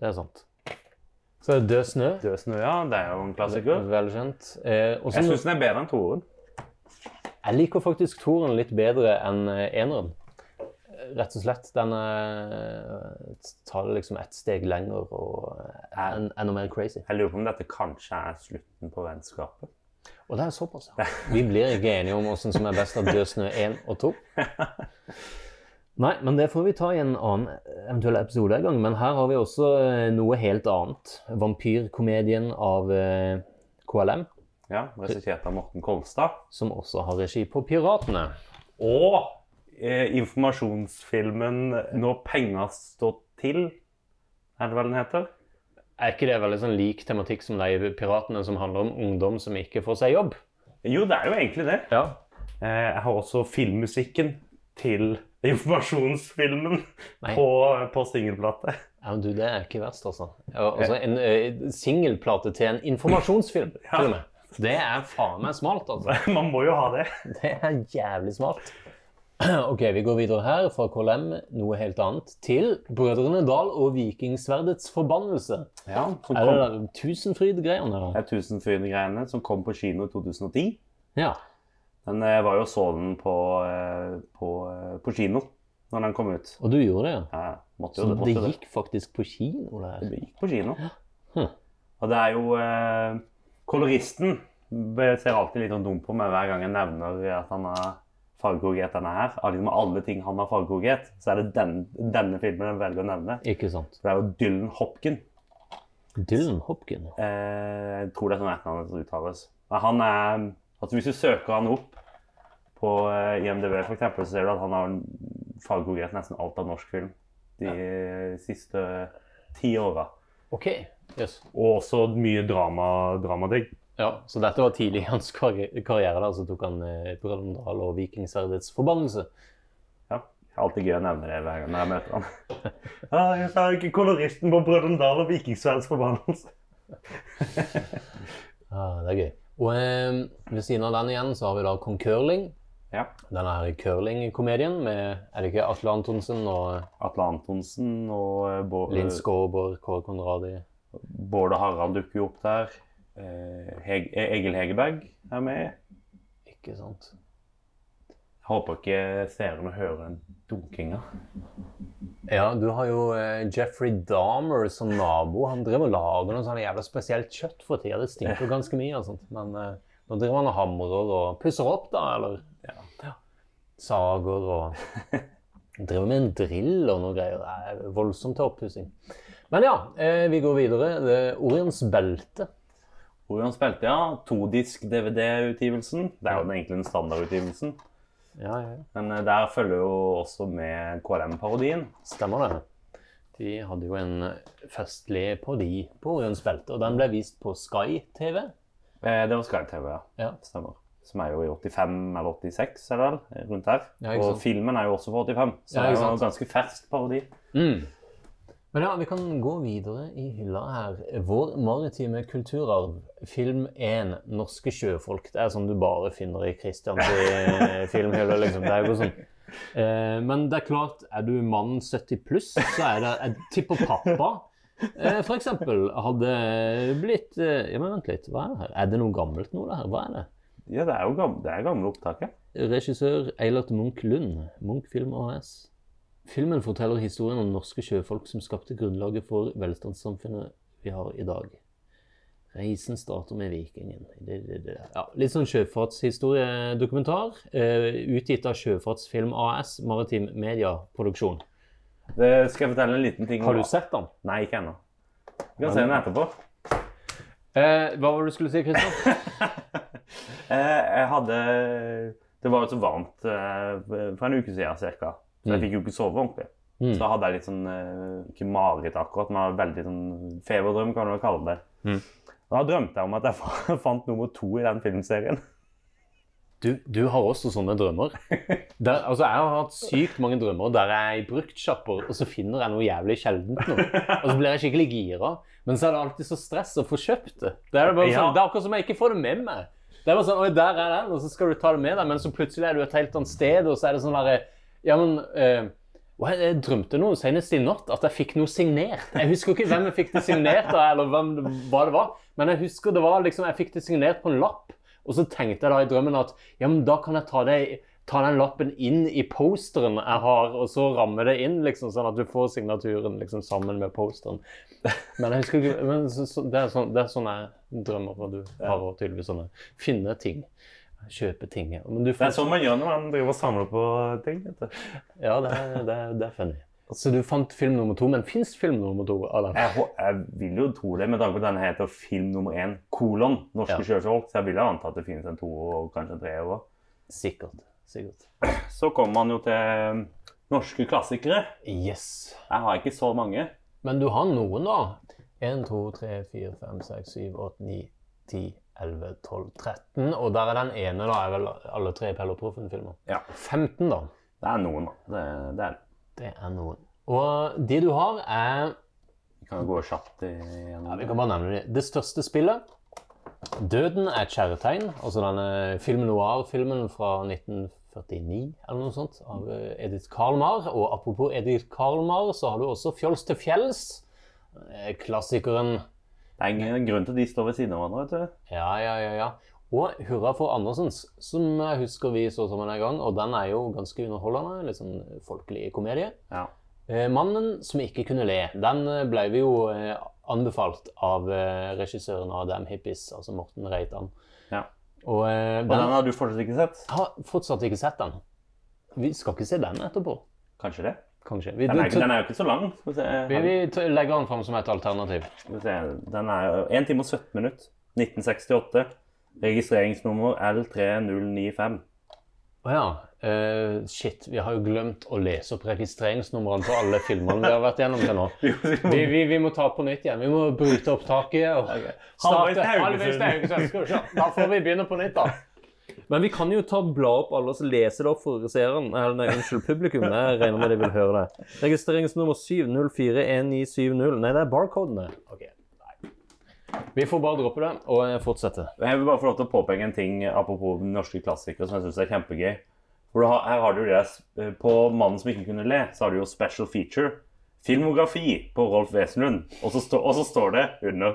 B: Det er sant. Så er det Død snø.
A: Død snø, ja. Det er jo en klassiker.
B: Velkjent. Eh, og så-
A: Jeg syns den er bedre enn toeren.
B: Jeg liker faktisk toeren litt bedre enn eh, eneren. Eh, Rett og slett. Den eh, tar det liksom ett steg lenger og eh, er en- enda mer crazy.
A: Jeg lurer på om dette kanskje er slutten på vennskapet.
B: Og det er såpass, ja. Vi blir ikke enige om åssen som er best av Død snø 1
A: [laughs]
B: og 2. Nei, men det får vi ta i en annen eh, eventuell episode en gang. Men her har vi også eh, noe helt annet. Vampyrkomedien av eh, KLM,
A: Ja, Regissert av Morten Kolstad.
B: som også har regi på Piratene.
A: Og eh, informasjonsfilmen 'Når penga står til', er det vel den heter?
B: Er ikke det veldig sånn lik tematikk som de piratene som handler om ungdom som ikke får seg jobb?
A: Jo, det er jo egentlig det.
B: Ja.
A: Eh, jeg har også filmmusikken til informasjonsfilmen
B: Nei.
A: på, på singelplate. [laughs]
B: ja men du, det er ikke verst, altså. Ja, Altså en eh, singelplate til en
A: [laughs]
B: informasjonsfilm, til og med. Det er faen meg smalt, altså.
A: Man må jo ha det.
B: Det er jævlig smalt. [clears throat] Ok, vi går videre her fra KLM, noe helt annet, til Brødrene Dal og Vikingsverdets forbannelse.
A: Ja, som
B: Er det
A: kom,
B: der Tusenfryd-greiene, eller?
A: det er Tusenfryd-greiene som kom på kino i 2010.
B: Ja.
A: Den eh, var jo så den på, eh, på, eh, på kino når den kom ut.
B: Og du gjorde det, ja.
A: Ja, måtte
B: Så
A: jo det.
B: det
A: Måtte det.
B: gikk faktisk på kino, det her.
A: Det gikk på kino.
B: Hm.
A: Og det er jo eh, Koloristen be- ser alltid litt sånn dum på meg hver gang jeg nevner at han har fargekorrigert denne her. Av liksom alle ting han har fargekorrigert, så er det den, denne filmen jeg velger å nevne.
B: Ikke sant.
A: For det er jo Dylan Hopkin.
B: Dylan Hopkin.
A: Eh, jeg tror det er sånn et eller annet som uttales. Men han er Altså hvis du søker han opp på eh, IMDv, for eksempel, så ser du at han har fargekorrigert nesten alt av norsk film de siste eh, ti åra.
B: Ok, yes.
A: Og også mye drama, dramadigg.
B: Ja, så dette var tidlig i hans karri- karriere der, så tok han eh, Brødrene Dal og Vikingsverdets forbannelse.
A: Ja. det er Alltid gøy å nevne det hver gang jeg møter [laughs] han. Ja, jeg sa jo ikke koloristen på Brødrene Dal og Vikingsverds [laughs] forbannelse.
B: Ja, Ah, det er gøy. Og eh, ved siden av den igjen så har vi da Kong Curling.
A: Ja.
B: Denne her curling-komedien med, er det ikke Atle Antonsen og
A: Atle Antonsen og eh, Bård,
B: Linn Skåber, Kåre Konradi?
A: Bård og Harald dukker jo opp der. Eh, Heg eh, Egil Hegerberg er med.
B: Ikke sant?
A: Jeg håper ikke seerne hører den dunkinga.
B: Ja, du har jo eh, Jeffrey Dahmer som nabo. Han driver og lager noe sånn jævla spesielt kjøtt for tida. Det stinker jo ganske mye og sånt. Men eh, nå driver han og hamrer og pusser opp, da, eller Ja. sager og Han Driver med en drill og noe greier. Det er voldsomt til oppussing. Men ja, eh, vi går videre. Det er Orions belte.
A: Orion spilte, ja. Todisk-DVD-utgivelsen. Det er jo den- egentlig den standardutgivelsen.
B: Ja, ja.
A: Men eh, der følger jo også med KLM-parodien.
B: Stemmer det. De hadde jo en festlig parodi på Orions belte, og den ble vist på Sky TV.
A: Eh, det var Sky TV, ja.
B: Ja.
A: Stemmer. Som er jo i 85 eller 86, er det vel? Rundt her.
B: Ja, ikke
A: og
B: sant.
A: filmen er jo også fra 85, så
B: Ja,
A: det er
B: ikke
A: jo
B: sant.
A: en ganske fersk parodi.
B: Mm. Men ja, vi kan gå videre i hylla her. Vår maritime kulturarv, film 1, norske sjøfolk. Det er sånn du bare finner i Kristians eh, filmhylle, liksom. Det er jo sånn. Eh, men det er klart, er du mann 70 pluss, så er det Jeg tipper pappa, eh, for eksempel, hadde blitt eh, Ja, men vent litt, hva er det her? Er det noe gammelt nå, det her? Hva er det?
A: Ja, det er jo gamle, det er gamle opptaket.
B: Regissør Eilert Munch Lund, Munch Film AS. Filmen forteller historien om norske sjøfolk som skapte grunnlaget for velstandssamfunnet vi har i dag. Reisen starter med vikingen. Det, det, det. Ja, litt sånn sjøfartshistoriedokumentar, eh, utgitt av Sjøfartsfilm AS, Maritim Media Produksjon.
A: Det skal jeg fortelle en liten ting om.
B: Har du sett den?
A: Nei, ikke ennå. Vi kan se den etterpå.
B: Eh, hva var det du skulle si, Kristian?
A: [laughs] Eh, jeg hadde Mm. Det var jo så varmt eh, for en uke siden ca. Så jeg fikk jo ikke sove ordentlig.
B: Mm.
A: Så da hadde jeg litt sånn eh, Ikke mareritt akkurat, men veldig sånn feberdrøm, kan du vel kalle det.
B: Mm.
A: Da drømte jeg om at jeg fa- [laughs] fant nummer to i den filmserien.
B: Du, du har også sånne drømmer. Der, altså, jeg har hatt sykt mange drømmer der jeg er i bruktsjapper, og så finner jeg noe jævlig sjeldent nå. Og så blir jeg skikkelig gira. Men så er det alltid så stress å få kjøpt det. Det er, bare
A: Ja.
B: sånn, det er akkurat som jeg ikke får det med meg. Det er bare sånn, Oi, der er den, og så skal du ta det med deg, men så plutselig er du et helt annet sted, og så er det sånn derre Ja, men eh, hva, Jeg drømte noe senest i natt, at jeg fikk noe signert. Jeg husker ikke hvem jeg fikk det signert av, eller hvem, det- hva det var, men jeg husker det var liksom Jeg fikk det signert på en lapp, og så tenkte jeg da i drømmen at ja, men da kan jeg ta det Ta den lappen inn i posteren jeg har, og så ramme det inn, liksom, sånn at du får signaturen liksom, sammen med posteren. Men jeg husker ikke, men så, så, det, er sånn, det er sånn jeg drømmer, og du har også tydeligvis sånne finne ting. Kjøpe ting. ja. Men du
A: Det er
B: fant,
A: sånn man gjør når man driver og samler på ting. vet du.
B: ja, det er, det er, det er funny. Så du fant film nummer to, men fins film nummer to av den?
A: Jeg, hå- jeg vil jo tro det, med tanke på at den heter film nummer én, kolon, norske
B: Ja.
A: sjøfolk. Så jeg vil jo anta at det finnes en toer og kanskje en treer òg.
B: Sikkert. Sikkert.
A: Så kommer man jo til norske klassikere.
B: Yes.
A: Jeg har ikke så mange.
B: Men du har noen, da. 1, 2, 3, 4, 5, 6, 7, 8, 9, 10, 11, 12, 13. Og der er den ene, da, er vel alle tre Pelle og Proffen-filmer.
A: Ja.
B: 15, da.
A: Det er noen, da. Det, det er det.
B: Det er noen. Og de du har, er
A: Vi kan jo gå kjapt i-
B: Ja,
A: gjennom
B: vi
A: det.
B: kan bare nevne det. Det største spillet. Døden er et kjærtegn. Altså denne film noir-filmen fra 1949 eller noe sånt, av eh, Edith Karlmar. Og apropos Edith Karlmar, så har du også Fjols til fjells. eh, Klassikeren.
A: Det er ingen grunn til at de står ved siden av hverandre. vet du.
B: Ja, ja, ja, ja. Og Hurra for Andersens, som jeg husker vi så sammen en gang. Og den er jo ganske underholdende. Litt sånn folkelig komedie.
A: Ja.
B: Eh, Mannen som ikke kunne le, den eh, ble vi jo eh, anbefalt av eh, regissøren av Damn Hippies, altså Morten Reitan.
A: Ja.
B: Og eh,
A: Og den
B: den
A: har du fortsatt ikke sett?
B: har fortsatt ikke sett den. Vi skal ikke se den etterpå,
A: Kanskje det?
B: kanskje. Vi,
A: Den er,
B: du-
A: ikke- den er jo ikke så lang. Skal vi se.
B: vi,
A: Her-
B: vi t- legger den fram som et alternativ.
A: Skal vi se. Den er jo 1 time og 17 minutter. 1968. Registreringsnummer L3095.
B: Å ja. eh, shit, vi har jo glemt å lese opp registreringsnumrene på alle filmene vi har vært gjennom til nå. Vi, vi, vi må ta på nytt igjen. Vi må bryte opptaket. og
A: Halvveis til
B: starte- halvveis
A: Haugesund.
B: til Haugesund. Skal vi se. Da får vi begynne på nytt, da. Men vi kan jo ta bla opp alle og så lese det opp for seeren. Eller nei, unnskyld, publikum. Jeg regner med de vil høre det. Registreringsnummer 7041970. Nei, det er barcoden, det. Ok, nei. Vi får bare droppe det og eh, fortsette.
A: Jeg vil bare få lov til å påpeke en ting apropos den norske klassikere som jeg syns er kjempegøy. For du har, her har du det, s- På 'Mannen som ikke kunne le' så har du jo special feature. Filmografi på Rolf Wesenlund. Og så, stå, og så står det under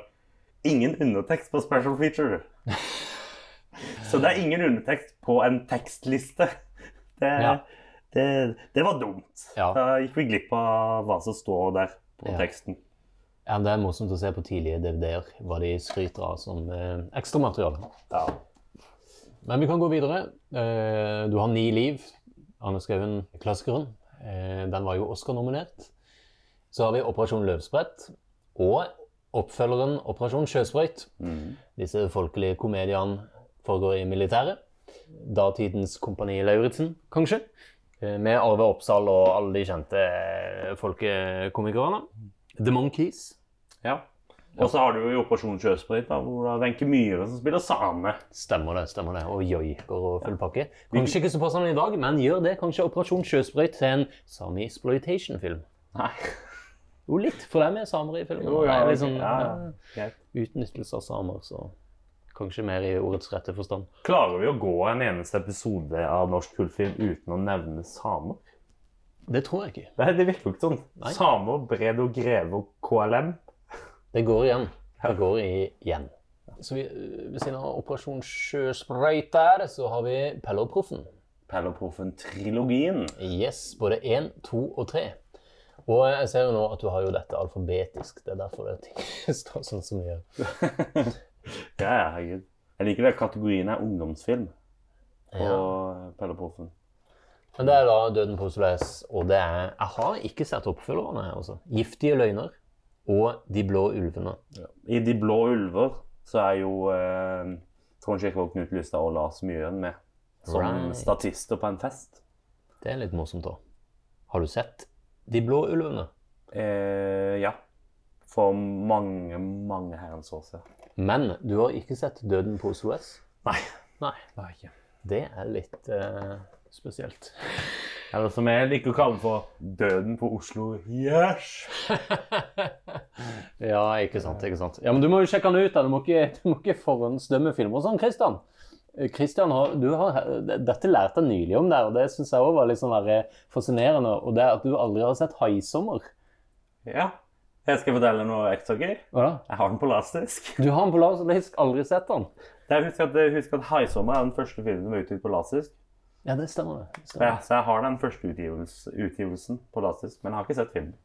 A: 'ingen undertekst på special
B: [laughs]
A: feature'. Så det er ingen undertekst på en tekstliste. Det,
B: Ja.
A: det, det var dumt.
B: Ja.
A: Da gikk vi glipp av hva som står der på
B: Ja.
A: teksten.
B: Ja, Det er morsomt å se på tidlige DVD-er hva de skryter av som eh, ekstramateriale.
A: Ja.
B: Men vi kan gå videre. Eh, Du har Ni liv, Anne Skauen, klassikeren. Eh, Den var jo Oscar-nominert. Så har vi Operasjon Løvsprett og oppfølgeren Operasjon Sjøsprøyt.
A: Mm.
B: Disse folkelige komediene foregår i militæret. Datidens Kompani Lauritzen, kanskje. Eh, Med Arve Oppsal og alle de kjente eh, folkekomikerne. The Monkees.
A: ja. Og så har du jo i Operasjon Sjøsprøyt, da, hvor det er Wenche Myhre som spiller same.
B: Stemmer det. stemmer det. Og joiker og full pakke. Kanskje ikke så passende i dag, men gjør det kanskje Operasjon Sjøsprøyt til en sami exploitation-film?
A: Nei.
B: Jo, litt, for det er med samer i filmen.
A: Jo, ja,
B: Det er litt sånn,
A: ja, ja.
B: ja,
A: Greit.
B: Utnyttelse av samer, så kanskje mer i ordets rette forstand.
A: Klarer vi å gå en eneste episode av norsk kultfilm uten å nevne samer?
B: Det tror jeg ikke.
A: Nei, det virker jo ikke sånn.
B: Nei.
A: Samer, Bred og Greve og KLM.
B: Det går igjen. Det går i- igjen. Så vi, øh, Ved siden av Operasjon Sjøsprøyt der, så har vi Pelle og Proffen.
A: Pelloproffen-trilogien.
B: Yes, både 1, 2 og 3. Og jeg ser jo nå at du har jo dette alfabetisk. Det er derfor det ting [laughs] står sånn som det gjør.
A: Ja, ja, herregud. Jeg liker det kategorien er ungdomsfilm på
B: Ja.
A: Pelloproffen.
B: Men det er da 'Døden på Oslo S', og det er Jeg har ikke sett oppfølgerne her, altså. 'Giftige løgner' og 'De blå ulvene'.
A: I De blå ulver så er jo eh, Trond Kirkevåg, Knut Lystad og Lars Mjøen med som
B: Right.
A: statister på en fest.
B: Det er litt morsomt, da. Har du sett De blå ulvene.
A: Eh, ja. For mange, mange herrens år siden.
B: Men du har ikke sett Døden på Oslo S?
A: Nei.
B: Nei.
A: det har jeg ikke.
B: Det er litt eh, spesielt.
A: Eller som jeg liker å kalle for Døden på Oslo Yes!
B: [laughs] ja, ikke sant, ikke sant. Ja, men du må jo sjekke den ut, da. Du må ikke, du må ikke forhåndsdømme filmer og sånn, Christian. Eh, Christian, har, du har, dette lærte jeg nylig om deg, og det syns jeg òg var litt sånn der, eh, fascinerende. Og det er at du aldri har sett 'Haisommer'.
A: Ja. Jeg skal fortelle noe ekstra gøy.
B: Hva da?
A: Jeg har den på lastisk.
B: Du har den på laserdisk, aldri sett den.
A: Husk at, husk at Haisommer er den første filmen som er utgitt på lastisk.
B: Ja, det stemmer. det. det
A: Så
B: stemmer.
A: jeg, så jeg har den første utgivels- utgivelsen på lastisk, men jeg har ikke sett filmen.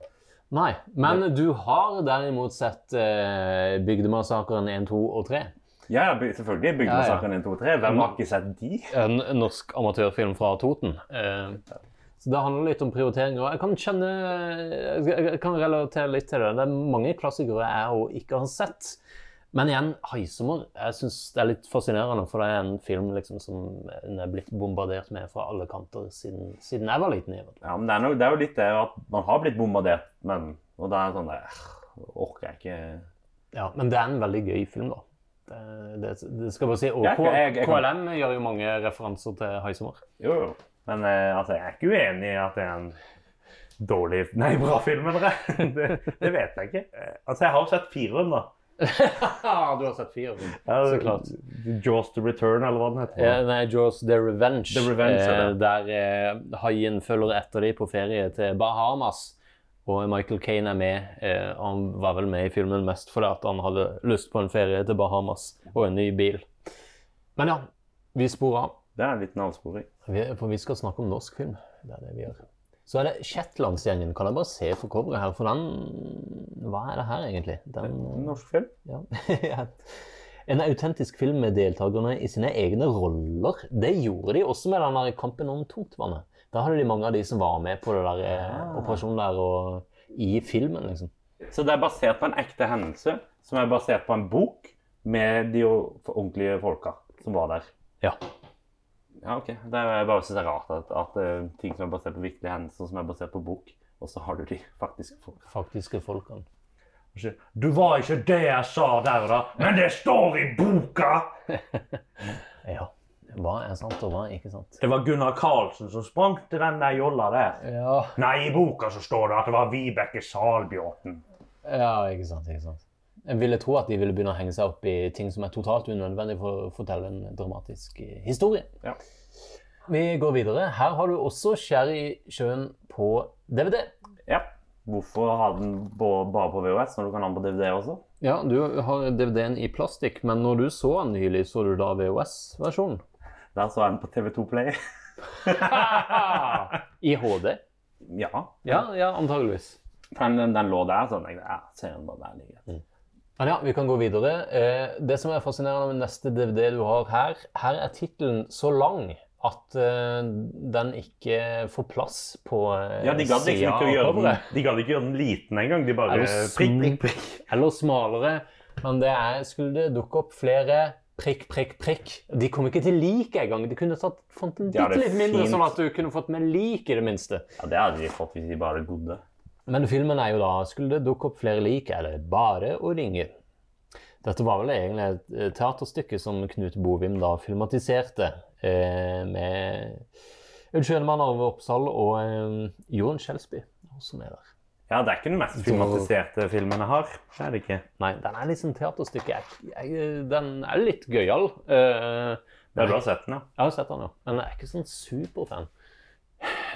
B: Nei, men du har derimot sett eh, 'Bygdemassakren 1, 2 og 3'.
A: Ja, ja, Mm. by- selvfølgelig. Bygningssaken 1, 2, 3. Hvem har ikke sett de?
B: En norsk amatørfilm fra Toten. Eh, så Det handler litt om prioriteringer. Jeg kan kjenne, jeg jeg kan relatere litt til det. Det er mange klassikere jeg òg ikke har sett. Men igjen, 'Haisommer' jeg synes det er litt fascinerende. For det er en film liksom, som en er blitt bombardert med fra alle kanter siden, siden jeg var liten. i hvert fall.
A: Ja, men det er, noe, det er jo litt det at man har blitt bombardert, men Og da er det sånn der «Åh, Orker jeg ikke
B: Ja, men det er en veldig gøy film, da. Det, det, det skal jeg bare si. Og
A: Jeg-
B: K-
A: jeg- jeg kan-
B: KLM gjør jo mange referanser til 'Haisommer'.
A: Jo, jo. Men eh, altså, jeg er ikke uenig i at det er en dårlig Nei, bra film, mener jeg. [laughs] Det, det vet jeg ikke. Eh, Altså, jeg har jo sett fireren, da.
B: du har sett fire.
A: Ja,
B: Så klart.
A: Jaws to Return, eller hva den heter.
B: Eh, nei, Jaws The Revenge,
A: The Revenge, ja,
B: eh, der eh, haien følger etter dem på ferie til Bahamas. Og Michael Caine er med. Eh, han var vel med i filmen mest fordi at han hadde lyst på en ferie til Bahamas og en ny bil. Men ja, vi sporer av.
A: Det er en liten avsporing.
B: Vi- For vi skal snakke om norsk film. Det er det vi gjør. Så er det Shetlandsgjengen. Kan jeg bare se for coveret her, for den Hva er det her, egentlig? Den,
A: Norsk film?
B: ja. [laughs] En autentisk film med deltakerne i sine egne roller. Det gjorde de også med den der kampen om tungtvannet. Da hadde de mange av de som var med på det der eh, operasjonen der og i filmen, liksom.
A: Så det er basert på en ekte hendelse, som er basert på en bok med de o- ordentlige folka som var der.
B: Ja.
A: Ja, ok. Det er bare synes det er rart at, at eh, ting som er basert på virkelige hendelser, som er basert på bok, og så har du de faktisk folka.
B: Faktiske folkene.
A: Du var ikke det jeg sa der og da, men det står i boka!
B: Ja. Hva er sant, og hva er ikke sant?
A: Det var Gunnar Karlsen som sprengte den der jolla der.
B: Ja,
A: Nei, i boka så står det at det var Vibeke Salbjørten.
B: Ja, ikke sant, ikke sant. Jeg ville tro at de ville begynne å henge seg opp i ting som er totalt unødvendig for å fortelle en dramatisk eh, historie.
A: Ja.
B: Vi går videre. Her har du også Skjær i sjøen på DVD.
A: Ja. Hvorfor ha den på- bare på VHS når du kan ha den på DVD også?
B: Ja, du har DVD-en i plastikk, men når du så den nylig, så du da
A: [laughs]
B: VHS-versjonen?
A: Der så jeg den på TV2 Play. [laughs]
B: I HD?
A: ja.
B: Ja, ja, antageligvis.
A: Den, den, den lå der, sånn. Jeg, ja, ser den bare der ligger.
B: Men ja, vi kan gå videre. Eh, Det som er fascinerende med neste DVD du har her, her er tittelen så lang at eh, den ikke får plass på eh,
A: Ja, de gadd liksom
B: siden
A: ikke å
B: av
A: gjøre den,
B: coveret.
A: de gadd ikke gjøre den liten engang. De
B: Er
A: bare
B: det
A: prikk, prikk, prikk.
B: Eller smalere. Men det er, skulle det dukke opp flere prikk, prikk, prikk De kom ikke til lik engang. De kunne tatt, fant en
A: Ja, det
B: bitte
A: er
B: litt mindre,
A: fint.
B: sånn at du kunne fått med lik, i det minste.
A: Ja, det hadde de fått hvis de bare hadde godde.
B: Men filmen er jo da Skulle det dukke opp flere lik, er det bare å ringe. Dette var vel egentlig et eh, teaterstykke som Knut Bovim da filmatiserte eh, med Aud Schønemann, Arve Oppsal og eh, Jorunn Skjelsby. Også med der.
A: Ja, det er ikke den mest filmatiserte filmen jeg har. Det er det ikke.
B: Nei, den er liksom teaterstykke. Jeg, jeg, den er litt gøyal. Eh,
A: Ja, du har sett den, ja.
B: Jeg har sett den, ja. Men jeg er ikke sånn superfan.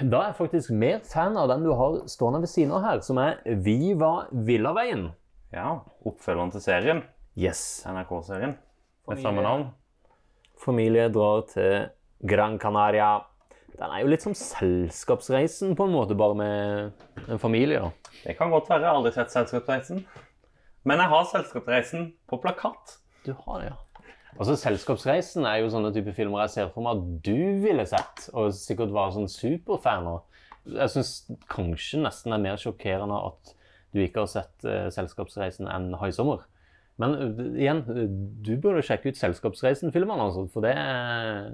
B: Da er jeg faktisk mer fan av den du har stående ved siden av her, som er Vi var villaveien.
A: Ja, Oppfølgeren til serien.
B: Yes.
A: NRK-serien. Med
B: Familie.
A: samme navn.
B: familie drar til Gran Canaria. Den er jo litt som selskapsreisen, på en måte, bare med en familie. da.
A: Det kan godt være. Jeg har aldri sett Selskapsreisen. Men jeg har Selskapsreisen på plakat.
B: Du har det, ja. Altså, Selskapsreisen er jo sånne type filmer jeg ser for meg at du ville sett, og sikkert var sånn superfan av. Jeg syns kanskje nesten det er mer sjokkerende at du ikke har sett eh, Selskapsreisen enn Haisommer. Men ø, igjen, ø, du burde sjekke ut Selskapsreisen-filmene, altså, for det er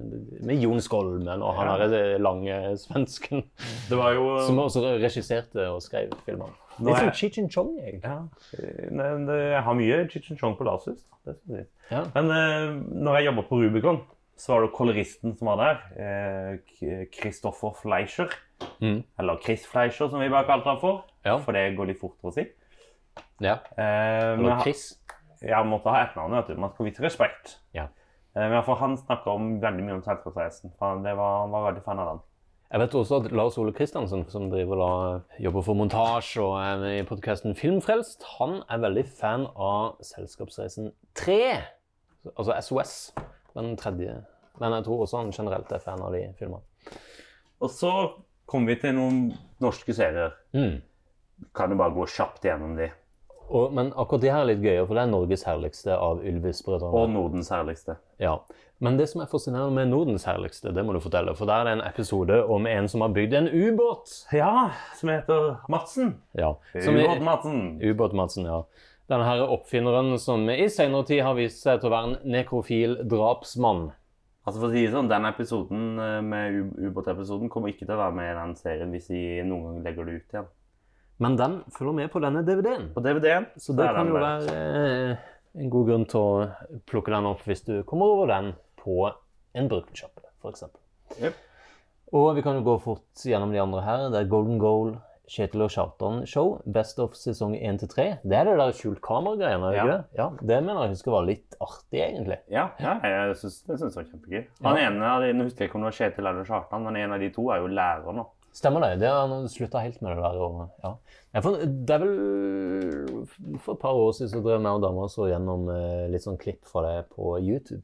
B: med Jon Skolmen og han
A: Ja.
B: derre lange svensken
A: Det var jo
B: som også regisserte og skrev filmene.
A: Nå
B: Litt
A: er-
B: som Cheech and Chong, egentlig.
A: Ja, men det, jeg har mye Chichen Chong på Lasus. da, Det skal jeg si.
B: Ja.
A: Men eh, når jeg jobba på Rubicon, så var det koloristen som var der. Eh, K- Christoffer Fleischer.
B: Mhm.
A: Eller Chris Fleischer, som vi bare kalte han for.
B: Ja.
A: For det går litt fortere å si.
B: ja.
A: Eh, men
B: Eller
A: han-
B: Chris.
A: jeg måtte ha etternavnet, vet du. Man skal vise respekt.
B: Ja.
A: Eh, men for han snakka om veldig mye om selskapsreisen. for Han, det var, han var veldig fan av den.
B: Jeg vet også at Lars Ole Kristiansen, som driver da, jobber for montasje og er med i podkasten Filmfrelst, han er veldig fan av Selskapsreisen 3, altså SOS, den tredje. Men jeg tror også han generelt er fan av de filmene.
A: Og så kom vi til noen norske serier.
B: Mm.
A: Kan jo bare gå kjapt gjennom de.
B: Og, men akkurat det her er litt gøyere, for det er Norges herligste av Ylvis-brødrene.
A: Og Nordens herligste.
B: Ja. Men det som er fascinerende med Nordens herligste, det må du fortelle, for der er det en episode om en som har bygd en ubåt.
A: Ja, som heter Madsen.
B: Ja. som er-
A: Ubåt Madsen.
B: Ubåt-Madsen, ja. Denne her oppfinneren som i senere tid har vist seg til å være en nekrofil drapsmann.
A: Altså for å si det sånn, Den episoden eh, med u- ubåtepisoden kommer ikke til å være med i den serien hvis de noen gang legger det ut igjen.
B: Men den følger med på denne DVD-en.
A: På DVD-en
B: Så det
A: er den
B: kan jo
A: der.
B: være eh, en god grunn til å plukke den opp hvis du kommer over den på en bruktsjappe, f.eks.
A: Jep.
B: Og vi kan jo gå fort gjennom de andre her. Det er Golden Goal, Kjetil og Kjartan Show, Best of sesong 1 til 3. Det er det der skjult kamera-greiene, er det ikke
A: Ja.
B: det? Ja, det mener jeg husker var litt artig, egentlig.
A: Ja, ja jeg syns det synes jeg var kjempegøy. Han ene av de, Nå husker jeg ikke om det var Kjetil eller Kjartan, men en av de to er jo lærer nå.
B: Stemmer det. det han slutta helt med det der. Og, ja. Nei, for, det er vel For et par år siden så drev jeg og dama så gjennom eh, litt sånn klipp fra det på YouTube.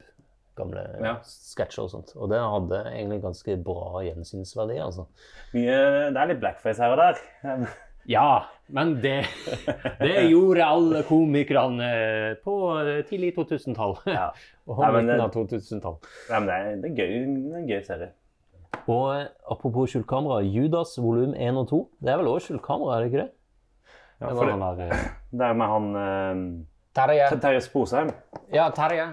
B: Gamle
A: Ja.
B: sketsjer og sånt. Og det hadde egentlig ganske bra gjensynsverdi, altså.
A: Mye, det er litt blackface her og der.
B: Ja, men det, [laughs] gjorde alle komikerne eh, på tidlig 2000-tall.
A: Ja.
B: [laughs] Og
A: Nei, men det-
B: midten av 2000-tall.
A: Nei, men det er, det er, gøy, det er en gøy serie.
B: Og eh, apropos skjult kamera, Judas volum 1 og 2. Det er vel også skjult kamera, er det ikke det?
A: Ja,
B: det
A: for det,
B: var han der eh,
A: det er med han eh,
B: Terje.
A: Terje Sposheim.
B: Ja, Terje.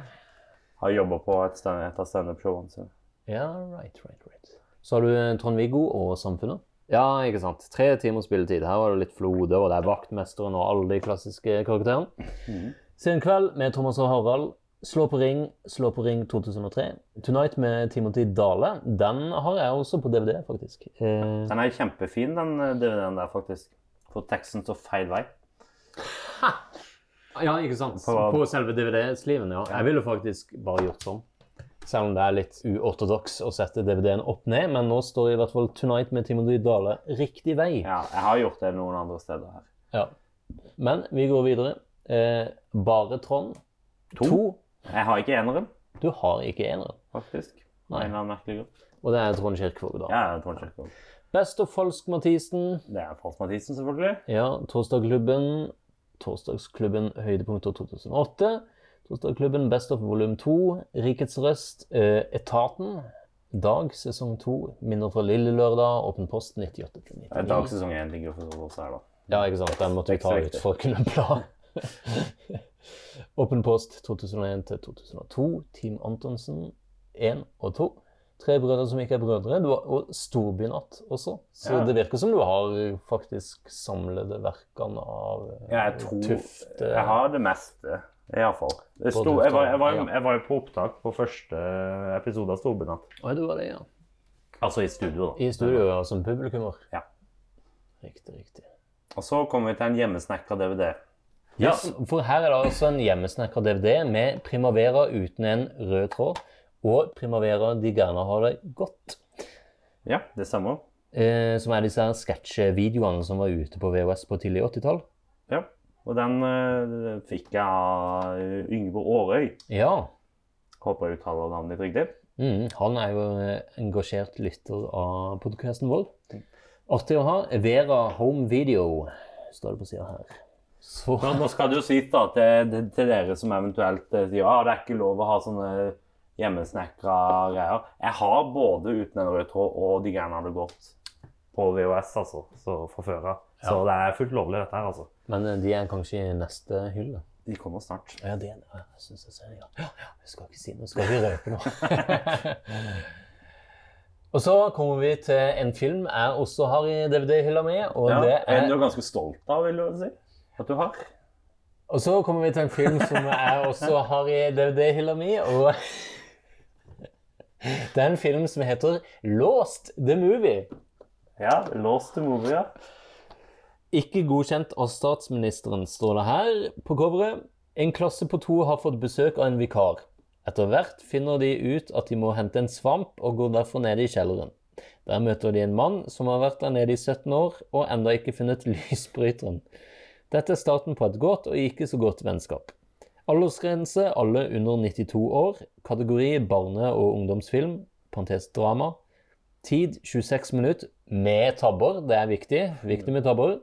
A: Har jobba på et, stand- et av standup-showene sine.
B: Ja, right, right, right. Så har du eh, Trond-Viggo og Samfunnet. Ja, ikke sant. Tre timer spilletid. Her var det litt Flode, og det er Vaktmesteren og alle de klassiske karakterene. Sen kveld med Thomas og Harald. Slå på ring, slå på ring 2003. Tonight med Timothy Dale. Den har jeg også på DVD, faktisk. Eh,
A: Den er kjempefin, den eh, DVD-en der, faktisk. For teksten står feil vei.
B: ja, ikke sant.
A: På-
B: selve DVD-sliven, ja. Jeg ville faktisk bare gjort sånn. Selv om det er litt uortodoks å sette DVD-en opp ned, men nå står i hvert fall Tonight med Timothy Dale riktig vei.
A: Ja, jeg har gjort det noen andre steder her.
B: Ja. Men vi går videre. Eh, bare Trond. To.
A: Jeg har ikke eneren,
B: Du har ikke eneren.
A: faktisk.
B: Nei.
A: Nei. En eller annen merkelig grunn.
B: Og det er Trond Kirkvåg, da.
A: Ja, jeg tror ikke det.
B: Best of Falsk-Mathisen.
A: Det er Frans Mathisen, selvfølgelig.
B: Ja, Torsdagsklubben. Torsdagsklubben høydepunkter 2008. Torsdagsklubben Best of volum 2. Rikets Røst. Eh, Etaten. Dag sesong 2. Minner fra Lille Lørdag. Åpen post 98 til
A: Det er
B: 99.
A: dagsesong én ligger for oss her, da.
B: Ja, ikke sant. Den måtte vi ta
A: Ekstra
B: ut for å kunne bla. [laughs] Åpen post 2001 til 2002. Team Antonsen 1 og 2. Tre brødre som ikke er brødre. Du har, og Storbynatt også. Så
A: Ja.
B: det virker som du har faktisk samlede verkene av eh,
A: Ja, jeg tror
B: Tufte.
A: Jeg har det meste, iallfall. Jeg, sto, jeg, var- jeg, var- jeg var jo på opptak på første eh, episode av Storbynatt.
B: Oi, det var det, ja.
A: Altså i studio, da.
B: I studio, ja, som publikummer.
A: Ja.
B: Riktig, riktig.
A: Og så kom vi til en hjemmesnekra DVD.
B: Ja, for her er det altså en hjemmesnekra DVD med Primavera uten en rød tråd, og Primavera de gjerne har det godt.
A: Ja, det stemmer.
B: Eh, som er disse her sketsjevideoene som var ute på VHS på tidlig 80-tall.
A: Ja. Og den eh, fikk jeg av Yngve Aarøy.
B: Ja.
A: Håper jeg uttaler navnet ditt riktig.
B: Mm, han er jo eh, engasjert lytter av podkasten vår. Artig å ha. Vera Home Video, står det på sida her. Så
A: Nå, nå skal det jo sies da til, til- til dere som eventuelt eh, sier at det er ikke lov å ha sånne hjemmesnekra greier. Jeg har både uten en rød tråd og de greiene hadde gått på VHS, altså, så fra før av. Så det er fullt lovlig dette her, altså.
B: Men eh, de er kanskje i neste hylle.
A: De kommer snart.
B: Ja, det er det. Jeg synes jeg ser det, ja. Ja, ja, jeg skal ikke si noe. Skal vi røpe noe? [laughs] og så kommer vi til en film jeg også har i DVD-hylla mi. Og,
A: Ja,
B: det
A: En du
B: er,
A: er ganske stolt av, vil du si. At du har.
B: og så kommer vi til en film som jeg også har i DVD-hylla mi. Og [laughs] det er en film som heter Lost the Movie.
A: Ja, Lost the movie, ja.
B: Ikke godkjent av statsministeren, står det her på coveret. En klasse på to har fått besøk av en vikar. Etter hvert finner de ut at de må hente en svamp, og går derfor ned i kjelleren. Der møter de en mann som har vært der nede i 17 år, og enda ikke funnet [laughs] lysbryteren. Dette er starten på et godt og ikke så godt vennskap. Aldersgrense alle under 92 år. Kategori barne- og ungdomsfilm, parentes drama. Tid 26 minutter med tabber, det er viktig. Viktig med tabber.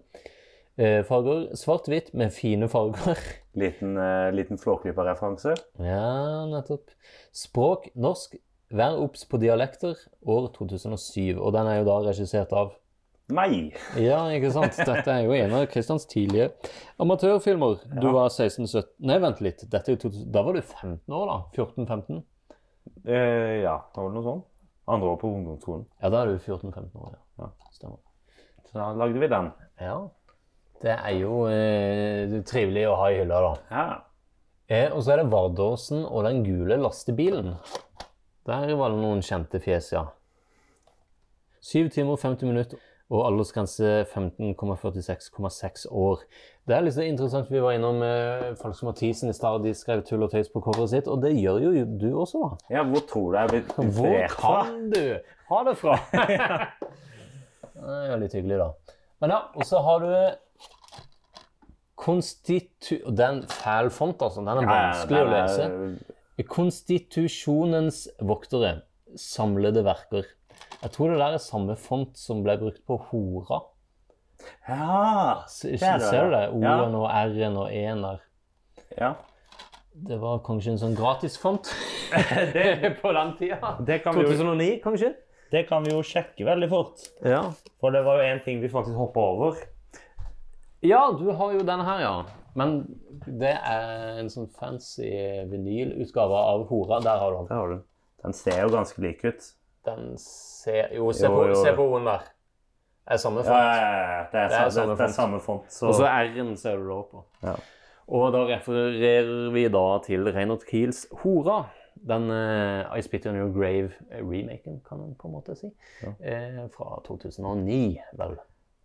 B: Eh, farger svart-hvitt med fine farger. [laughs]
A: Liten, uh, liten flåklypa-referanse.
B: Ja, nettopp. Språk norsk. Vær obs på dialekter. År 2007. Og den er jo da regissert av
A: Nei!
B: Ja, ikke sant? Dette er jo en av Kristians tidlige amatørfilmer. Du var 16-17 Nei, vent litt. Dette er jo 2000... Da var du 15 år, da? 14-15?
A: Eh, ja, det var vel noe sånn. Andre år på ungdomsskolen.
B: Ja, da er du 14-15 år, ja. Stemmer.
A: Så da lagde vi den.
B: Ja. Det er jo eh, trivelig å ha i hylla, da.
A: Ja.
B: Eh, og så er det Vardåsen og den gule lastebilen. Der var det noen kjente fjes, ja. 7 timer og 50 minutter og aldersgrense 15,46,6 år. Det er litt så interessant. Vi var innom eh, folk som Mathisen i stad. De skrev tull og tøys på coveret sitt, og det gjør jo du også, da.
A: ja, hvor tror du jeg er blitt
B: Hvor
A: inspirert fra?
B: kan du ha det [laughs] fra? det er jo litt hyggelig, da. Men ja, og så har du Konstitu... Den fæl font, altså. Den er vanskelig å
A: Ja,
B: lese.
A: den er-
B: Konstitusjonens voktere. Samlede verker. Jeg tror det der er samme font som ble brukt på Hora.
A: Ja!
B: S-
A: det er det,
B: Ser du det?
A: ja.
B: O-en og R-en og E-en der.
A: ja.
B: Det var kanskje en sånn gratisfont
A: [laughs] Det-
B: [laughs] på den tida.
A: Det kan, vi jo,
B: 2009, kanskje?
A: det kan vi jo sjekke veldig fort.
B: Ja.
A: For det var jo en ting vi faktisk hoppa over.
B: Ja, du har jo denne her, ja. Men det er en sånn fancy vinylutgave av Hora. Der har du den.
A: Der har du den. Den ser jo ganske lik ut.
B: Den ser Jo, se
A: Jo,
B: på,
A: jo.
B: se på O-en der. Det er
A: Ja,
B: samme font.
A: ja, ja, ja. Det er, sa-
B: samme
A: det, det er
B: font.
A: samme font. Så,
B: Og så R-en ser du da på.
A: Ja.
B: Og da refererer vi da til Reinert Kiels Hora. Den eh, I Spit On Your Grave-remaken, kan man på en måte si. Eh, fra 2009, vel.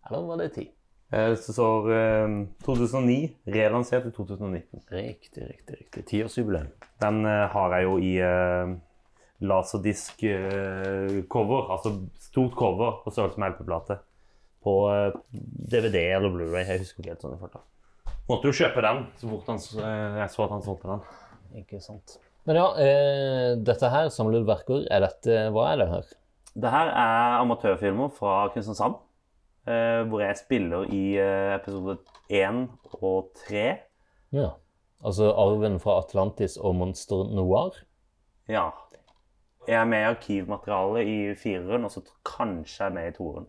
B: Eller var det 10?
A: Eh, så står eh, 2009, relansert i 2019.
B: Riktig, riktig. riktig. Tiårsjubileum.
A: Den eh, har jeg jo i eh, laserdisk-cover, altså stort cover på størrelse med LP-plate. På eh, DVD eller Blu-ray, jeg husker ikke helt sånn i farta. Måtte jo kjøpe den så fort han, s- eh, jeg så at han solgte den.
B: Ikke sant. Men ja, eh, dette her, samlede verker, er dette Hva er det her?
A: Det her er amatørfilmer fra Kristiansand, eh, hvor jeg spiller i eh, episode 1 og 3.
B: Ja. Altså arven fra Atlantis og monster noir?
A: Ja. Jeg er med i arkivmaterialet i fireren, og så t- kanskje jeg er med i toeren.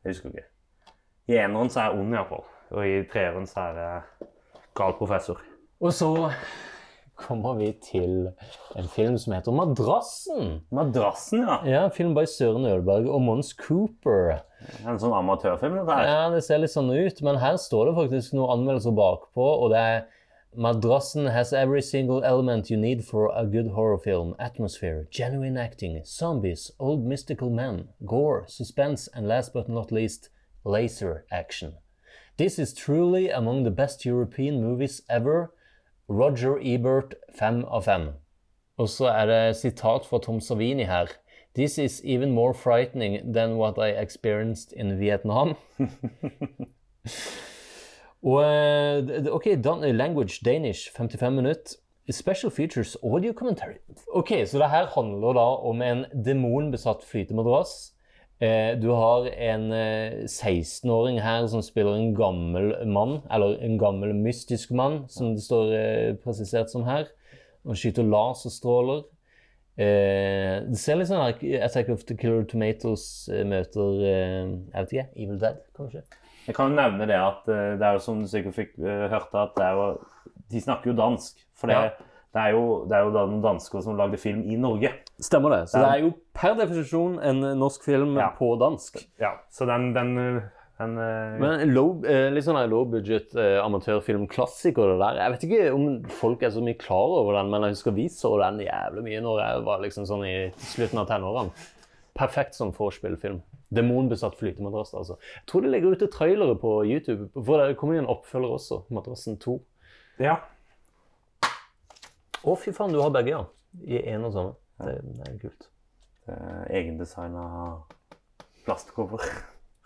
A: Jeg husker ikke. I eneren så er jeg ond, iallfall. Og i treeren så er jeg gal professor.
B: Og så kommer vi til en film som heter Madrassen.
A: Madrassen, ja.
B: Ja, en film by Søren Ølberg og Mons Cooper.
A: Det er En sånn amatørfilm, dette her.
B: Ja, Det ser litt sånn ut, men her står det faktisk noen anmeldelser bakpå, og det er Madrassen has every single element you need for a good horror film. Atmosphere, genuine acting, zombies, old mystical men, gore, suspense, and last but not least, laser action. This is truly among the best European movies ever. Roger Ebert, 5 av 5. Og så er det sitat fra Tom Savini her. This is even more frightening than what I experienced in Vietnam. Og, eh, d- d- ok, Dan language, Danish, 55 minutter. Special features, audio commentary. Ok, så det her handler da om en demonbesatt flytemadrass. Eh, Du har en eh, 16-åring her som spiller en gammel mann, eller en gammel mystisk mann, som det står eh, presisert som her. Han skyter laserstråler. Eh, det ser litt sånn her Attack of the Killer Tomatoes eh, møter eh, Jeg vet ikke, Evil Dead, kanskje?
A: Jeg kan jo nevne det at eh, det er jo som du sikkert fikk eh, hørte, at det er jo de snakker jo dansk. For det,
F: Ja.
A: det, er jo, det er jo den danske som lagde film i Norge.
F: Stemmer det. Så
A: Ja.
F: det er jo per definisjon en eh, norsk film
A: Ja.
F: på dansk.
A: Ja, så den, den, øh, den øh,
B: Men low, eh, litt sånn her low budget eh, amatørfilmklassiker, det der. Jeg vet ikke om folk er så mye klar over den, men jeg husker vi så den jævlig mye når jeg var liksom sånn i slutten av tenårene. Perfekt som vorspielfilm. Demonbesatt flytemadrass, altså. Jeg tror det ligger ute trailere på YouTube, for det kommer jo en oppfølger også, Madrassen 2.
A: Ja.
B: Å, fy faen, du har begge, ja. I én og samme. Det, det er kult.
A: Eh, Egendesigna plastcover.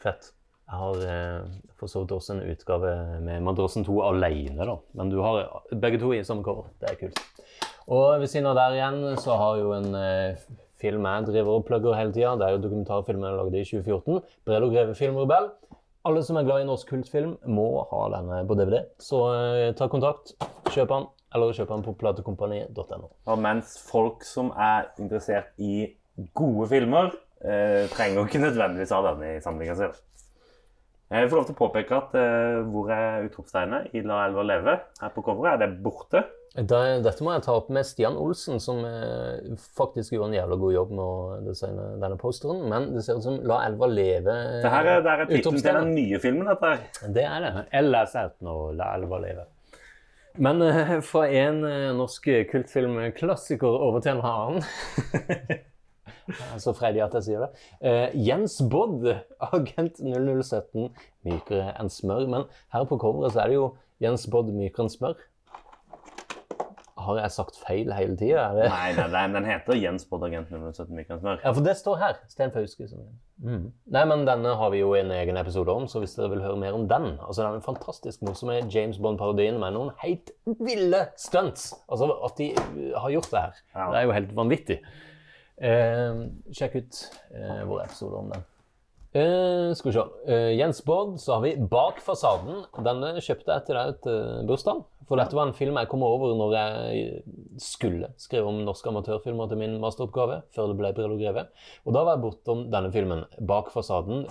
B: Fett. Jeg har eh, for så vidt også en utgave med Madrassen 2 alene, da. Men du har eh, begge to i samme cover. Det er kult. Og ved siden av der igjen så har jo en eh, film jeg driver og plugger hele tida. Det er jo dokumentarfilmen jeg lagde i 2014. 'Brede og Greve film Rebell'. Alle som er glad i norsk kultfilm, må ha denne på DVD. Så eh, ta kontakt, kjøp den, eller kjøp den på platekompani.no.
A: Og mens folk som er interessert i gode filmer, eh, trenger ikke nødvendigvis ha denne i samlinga si. Jeg får lov til å påpeke at eh, hvor er utropstegnet i La elva leve? Her på coveret er det borte.
B: Da, dette må jeg ta opp med Stian Olsen, som eh, faktisk gjorde en jævla god jobb med å designe denne posteren. Men det ser ut som 'La elva leve'. eh,
A: Det her er, det her er tittelen til den
B: utropstegn.
A: nye filmen. dette her.
B: Det er det. Ella Sauten og La elva leve. Men eh, fra en eh, norsk kultfilmklassiker over til en annen [laughs] Jeg er så freidig at jeg sier det. Eh, Jens Bodd, agent 0017. Mykere enn smør. Men her på coveret så er det jo Jens Bodd mykere enn smør. Har jeg sagt feil hele tida? Det...
A: Nei, nei, nei, den heter Jens Bodd Agent 017 Mikael Smør.
B: Ja, for det står her. Sten Fauske. Som... Mm. Nei, men denne har vi jo en egen episode om, så hvis dere vil høre mer om den altså Den er fantastisk morsomme James Bond-parodien med noen helt ville stunts. Altså at de uh, har gjort det her.
A: Ja.
B: Det er jo helt vanvittig. Eh, sjekk ut eh, vår episode om den. Eh, skal vi se. Eh, Jens Bård, så har vi Bak fasaden. Denne kjøpte jeg til deg til bursdagen. For dette var en film jeg kom over når jeg skulle skrive om norske amatørfilmer til min masteroppgave, før det ble Brille og Greve. Og da var jeg bortom denne filmen, Bak fasaden,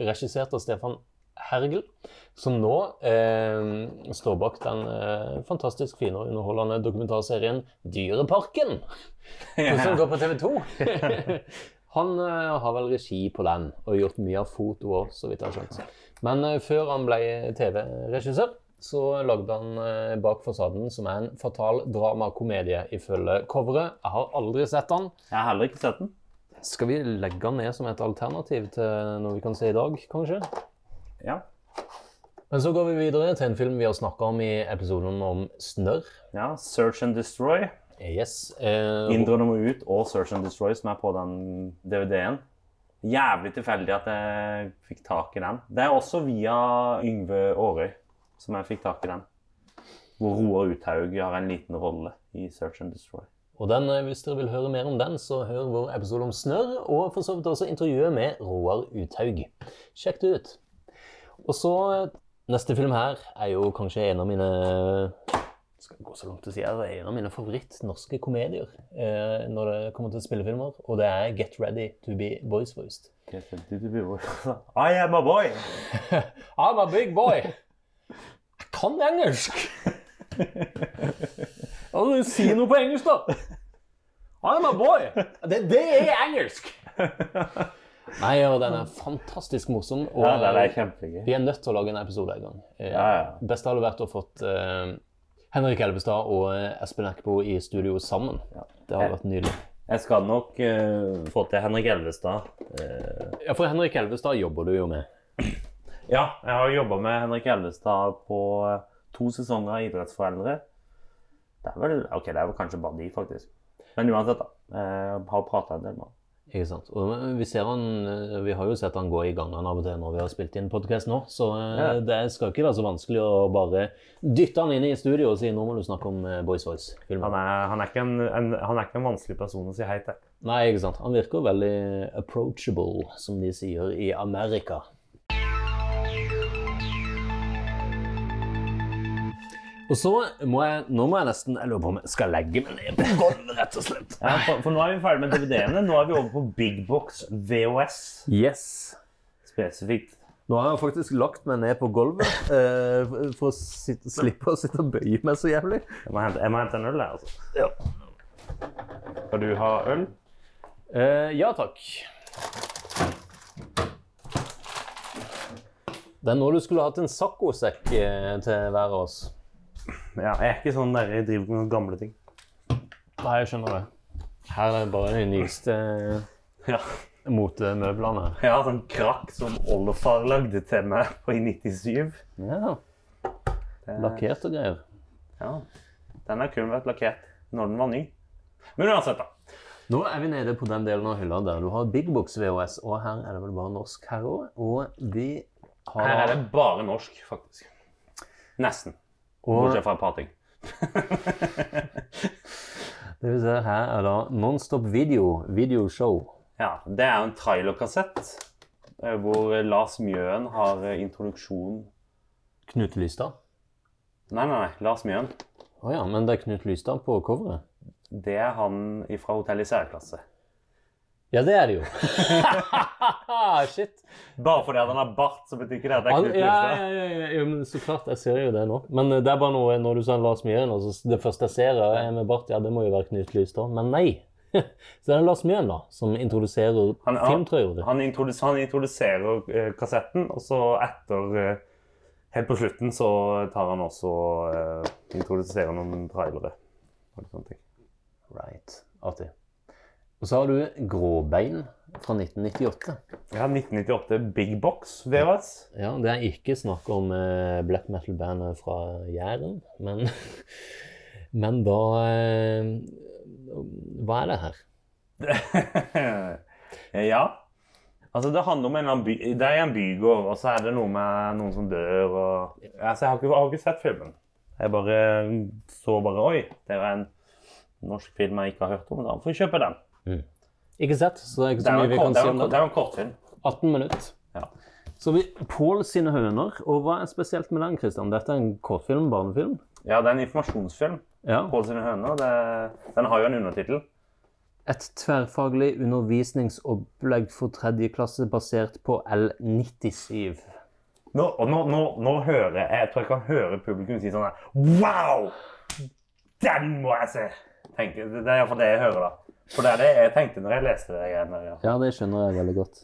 B: regissert av Stefan Hergel, som nå eh, står bak den eh, fantastisk fine og underholdende dokumentarserien Dyreparken, som går på TV 2. [laughs] Han eh, har vel regi på den, og gjort mye av foto òg, så vidt jeg har skjønt. Men eh, før han ble TV-regissør, så lagde han eh, Bak fasaden, som er en fatal dramakomedie ifølge coveret. Jeg har aldri sett den.
A: Jeg har heller ikke sett den.
B: Skal vi legge den ned som et alternativ til noe vi kan se i dag, kanskje?
A: Ja.
B: Men så går vi videre til en film vi har snakka om i episoden om snørr.
A: ja. Search and Destroy.
B: Yes. Eh,
A: Indre må ut og Search and Destroy, som er på den DVD-en. Jævlig tilfeldig at jeg fikk tak i den. Det er også via Yngve Aarøy som jeg fikk tak i den. Hvor Roar Uthaug har en liten rolle i Search and Destroy.
B: Og den, eh, Hvis dere vil høre mer om den, så hør vår episode om snørr, og for så vidt også intervjuet med Roar Uthaug. Sjekk det ut. Og så eh, Neste film her er jo kanskje en av mine eh, skal gå så langt til å si det, det er en av mine favoritt-norske komedier eh, når det kommer til spillefilmer, og det er Get Ready To Be Boys Voiced.
A: [laughs] I am a boy!
B: I'm a big boy. Jeg kan engelsk. Altså, si noe på engelsk, da. I'm a boy. Det, det er engelsk. Nei, og den er fantastisk morsom. Og
A: Ja, den er kjempegøy.
B: vi er nødt til å lage en episode en gang. Eh,
A: Ja, ja.
B: Best hadde vært å fått eh, Henrik Elvestad og eh, Espen Eckbo i studio sammen. Det hadde vært nydelig.
A: Jeg skal nok eh, få til Henrik Elvestad. eh,
B: Ja, For Henrik Elvestad jobber du jo med.
A: Ja, jeg har jobba med Henrik Elvestad på eh, to sesonger av Idrettsforeldre. Det er vel ok, det er vel kanskje bare de, faktisk. Men uansett, da. Eh, Jeg har prata en del med han.
B: Ikke sant. Og vi, ser han, eh, vi har jo sett han gå i gangen av og til når vi har spilt inn podkast nå, så eh,
A: Ja.
B: det skal ikke være så vanskelig å bare dytte han inn i studio og si nå må du snakke om eh, Boys Voice-filmen.
A: Han er, han, er ikke en, en, han er ikke en vanskelig person å si hei til.
B: Nei, ikke sant. Han virker veldig approachable, som de sier i Amerika. Og så må jeg Nå må jeg nesten Jeg lurer på om jeg skal legge meg ned på gulvet, rett og slett.
A: Ja, for, for nå er vi ferdig med DVD-ene. Nå er vi over på Big Box VHS
B: Yes.
A: spesifikt.
B: Nå har jeg faktisk lagt meg ned på gulvet eh, for å sitte, slippe å sitte og bøye meg så jævlig.
A: Jeg må hente, jeg må hente en øl, jeg, altså. Skal du ha øl?
B: Eh, ja takk. Det er nå du skulle hatt en saccosekk eh, til hver av oss.
A: Ja, jeg er ikke sånn der jeg driver med gamle ting.
B: Nei, jeg skjønner det. Her er det bare de nyeste eh,
A: Ja,
B: motemøblene.
A: jeg har sånn krakk som oldefar lagde til meg på i 97.
B: Ja. Lakkert og greier.
A: Ja, den har kun vært lakkert når den var ny. Men uansett da.
B: Nå er vi nede på den delen av hylla der du har Big Box VHS, og her er det vel bare norsk her òg. Og de har
A: Her er det bare norsk, faktisk. Nesten.
B: og,
A: Bortsett fra prating.
B: det vil si, her er da Nonstop Video, videoshow.
A: Ja, det er jo en trailerkassett eh, hvor eh, Lars Mjøen har eh, introduksjon
B: Knut Lystad.
A: Nei, nei, nei. Lars Mjøen.
B: Å ja, men det er Knut Lystad på coveret?
A: Det er han fra Hotell i særklasse.
B: Ja, det er det jo. [laughs] Shit.
A: Bare fordi at han har bart, så betyr ikke det at det er
B: Al-
A: Knut
B: ja,
A: Lystad.
B: ja, ja, ja, ja, men så klart, jeg ser jo det nå. Men eh, det er bare noe når du sa Lars Mjøen, og så det første jeg ser er med bart, ja, det må jo være Knut Lystad. Men nei. [laughs] Så det er Lars Mjøen da, som introduserer
A: Han- han-
B: filmtrøyere.
A: Han, introdus han introduserer eh, kassetten, og så etter eh, Helt på slutten så tar han også eh, introduserer noen trailere. og sånne ting.
B: Right. Artig. Og så har du Gråbein fra 1998.
A: Ja, 1998 Big Box VHS.
B: [laughs] Ja, det er ikke snakk om eh, black metal-bandet fra Jæren, men, [laughs] men da eh, Hva er det her?
A: ja. Altså, det handler om en eller annen by... Det er en bygård, og så er det noe med noen som dør, og... Altså, jeg har ikke, jeg har ikke sett filmen. Jeg bare mm, så bare, oi, det er en norsk film jeg ikke har hørt om, da får jeg kjøpe den.
B: Ikke sett, så det er ikke
A: Det
B: så
A: er
B: mye
A: jo
B: vi
A: en, kort,
B: kan
A: det er
B: si
A: jo en,
B: om
A: kort- det
B: det.
A: er jo en kortfilm.
B: 18 minutter.
A: Ja.
B: Så vi, Pål sine høner, og hva er spesielt med den, Kristian? Dette er en kortfilm, barnefilm?
A: Ja, det er en informasjonsfilm.
B: Ja.
A: Pål sine høner. Det, den har jo en undertittel.
B: Et tverrfaglig undervisningsopplegg for tredje klasse basert på L97.
A: Nå, og nå, nå, nå hører jeg Jeg tror jeg kan høre publikum si sånn her Wow! Den må jeg se! Tenker, det det er iallfall det jeg hører, da. For det er det jeg tenkte når jeg leste det greiene der. ja.
B: Ja, det skjønner jeg veldig godt.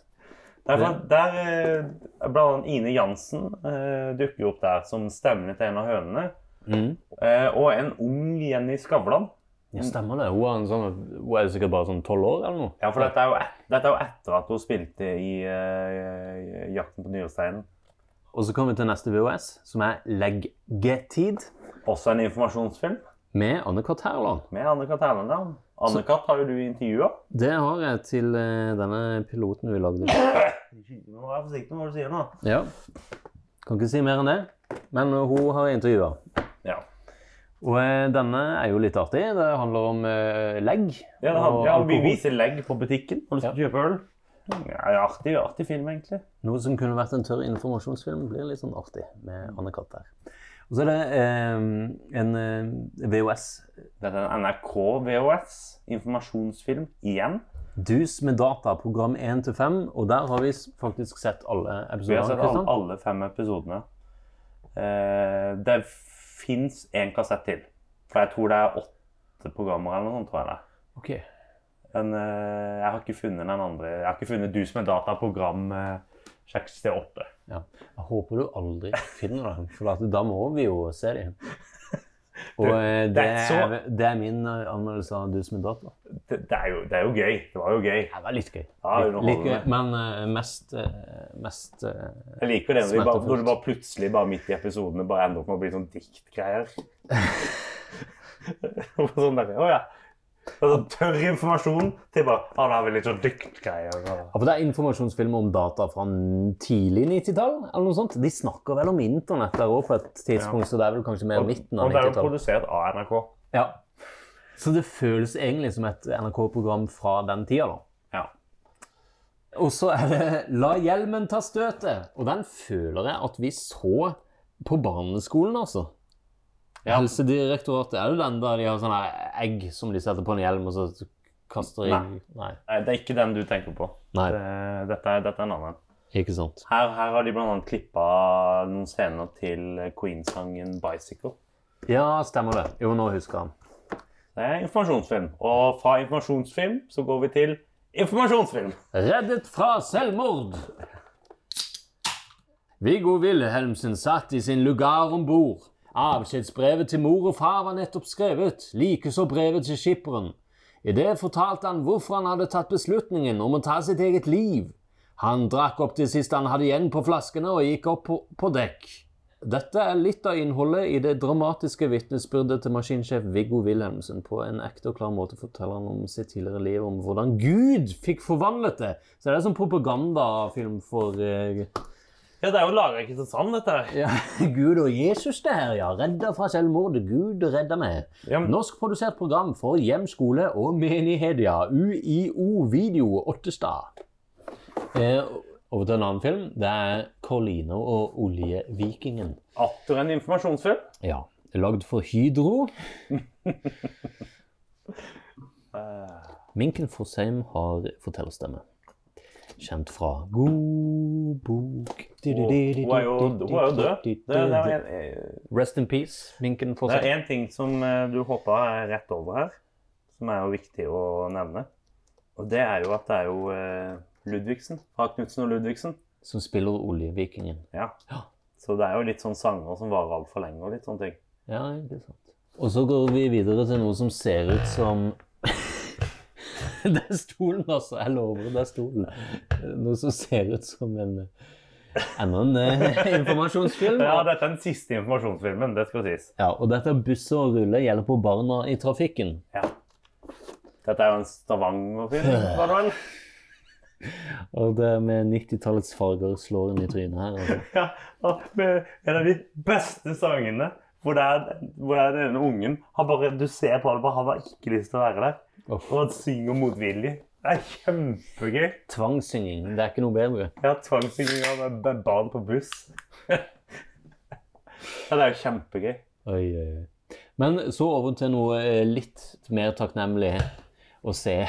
A: Der, for- der eh, Blant annet Ine Jansen eh, dukker jo opp der som stemmen til en av hønene.
B: Mhm.
A: Eh, og en ung Jenny Skavlan.
B: Ja, stemmer det. Hun er, en sånn, hun er sikkert bare sånn 12 år eller noe.
A: Ja, for dette er jo, et, dette er jo etter at hun spilte i eh, Jakten på nyresteinen.
B: Og så kommer vi til neste VHS, som er Leggetid,
A: Også en informasjonsfilm
B: med Anne-Kat. Herland.
A: med Anne-Kat. Herland. Anne-Kat. har jo du intervjua.
B: Det har jeg til eh, denne piloten vi lagde.
A: Nå er jeg forsiktig med hva du sier nå.
B: Ja. Kan ikke si mer enn det, men eh, hun har intervjua.
A: Ja.
B: Og eh, denne er jo litt artig. Det handler om eh, legg.
A: Ja, det handler,
B: og
A: ja, vi
B: alkohol.
A: viser legg på butikken når du skal kjøpe øl. Ja, det er artig, artig film, egentlig.
B: Noe som kunne vært en tørr informasjonsfilm, blir litt sånn artig med Anne-Kat. der. Og så er det eh, en eh, VHS.
A: Dette er en NRK VHS, informasjonsfilm, igjen.
B: Dus med data, program 1 til 5. Og der har vi s- faktisk sett alle
A: Vi har
B: episodene.
A: sett alle,
B: Kristian.
A: alle fem episodene. Eh, det fins én kassett til. For jeg tror det er åtte programmer eller noe sånt. tror jeg det. er.
B: Ok.
A: Men eh, jeg har ikke funnet den andre. Jeg har ikke funnet du som er data, program eh, 68.
B: Jeg håper du aldri finner dem, for at da må vi jo se
A: [laughs]
B: dem. Og eh, det
A: er så-
B: er, det er min eh, anmeldelse av Dus med data.
A: Det, det, er jo, det er jo gøy. Det var jo gøy.
B: Det var litt gøy.
A: Ja,
B: Litt- litt gøy,
A: underholdende.
B: men eh, mest, eh, mest eh,
A: Jeg liker det når, de bare,
B: Smertefullt.
A: når du bare plutselig bare midt i episodene bare ender opp med å bli sånn
B: [laughs]
A: diktgreier. Og sånn der, å ja. Og så tørr informasjon til bare Å, da har vi litt sånn diktgreier. og-
B: ja, for Det er informasjonsfilmer om data fra n- tidlig 90-tall? eller noe sånt. De snakker vel om internett der òg på et tidspunkt, så det er vel kanskje mer midten av
A: Og det er jo
B: 90-tallet.
A: produsert av NRK.
B: Ja. Så det føles egentlig som et NRK-program fra den tida, da.
A: Ja.
B: Og så er det 'La hjelmen ta støtet'. Og den føler jeg at vi så på barneskolen, altså. Helsedirektoratet, er det den der de har sånne egg som de setter på en hjelm, og så kaster de
A: Nei.
B: Nei.
A: Nei, Det er ikke den du tenker på.
B: Nei.
A: Det, dette, er, dette er en annen.
B: Ikke sant?
A: Her, her har de bl.a. klippa noen scener til Queen-sangen 'Bicycle'.
B: Ja, stemmer det. Jo, nå husker jeg. den.
A: Det er informasjonsfilm. Og fra informasjonsfilm så går vi til informasjonsfilm.
B: Reddet fra selvmord! Viggo Wilhelmsen satt i sin lugar om bord. Avskjedsbrevet til mor og far var nettopp skrevet, likeså brevet til skipperen. I det fortalte han hvorfor han hadde tatt beslutningen om å ta sitt eget liv. Han drakk opp det siste han hadde igjen på flaskene, og gikk opp på, på dekk. Dette er litt av innholdet i det dramatiske vitnesbyrdet til maskinsjef Viggo Wilhelmsen. På en ekte og klar måte forteller han om sitt tidligere liv, om hvordan Gud fikk forvandlet det. Så det er som propagandafilm for eh,
A: Ja, det er jo laga i Kristiansand, dette her.
B: ja, [laughs] Gud og Jesus det her, ja. Redda fra selvmord. Gud redda meg.
A: Ja, men-
B: Norskprodusert program for hjem, skole og menighet, ja. UiO Video Ottestad. Eh, over til en annen film. Det er Corlino og oljevikingen.
A: Atter en informasjonsfilm.
B: Ja. Lagd for Hydro.
A: Eh,
B: Minken Fosheim har fortellerstemme. Kjent fra God bok
A: Og Hun er jo, hun er jo død. Det, det, er en, eh,
B: Rest in peace, Minken
A: det er
B: Fosheim.
A: en ting som eh, du hoppa rett over her, som er jo viktig å nevne. Og det er jo at det er jo eh, Ludvigsen. Fra Knutsen og Ludvigsen.
B: Som spiller oljevikingen.
A: Ja.
B: Ja.
A: Så det er jo litt sånn sanger som varer altfor lenge og litt sånne ting.
B: Ja, ikke sant. Og så går vi videre til noe som ser ut som [laughs] Det er stolen, altså. Jeg lover, det er stolen. Noe som ser ut som en Enda en eh, informasjonsfilm.
A: Ja, dette er den siste informasjonsfilmen, det skal sies.
B: Ja, og dette buss og rulle gjelder på barna i trafikken.
A: Ja. Dette er jo en
B: [laughs]
A: Stavanger-film, var det vel?
B: Og det med 90-tallets farger slår inn i trynet her. Altså.
A: Ja, og med en av de beste sangene hvor det er, hvor det er den ene ungen han bare, Du ser på ham, han har ikke lyst til å være der.
B: Uff.
A: Og han synger motvillig. Det er kjempegøy.
B: Tvangssynging, det er ikke noe bedre.
A: Jeg har tvangssynging av med- med barn på buss. [laughs] ja, det er jo kjempegøy.
B: Oi, oi, oi. Men så over til noe eh, litt mer takknemlig å se.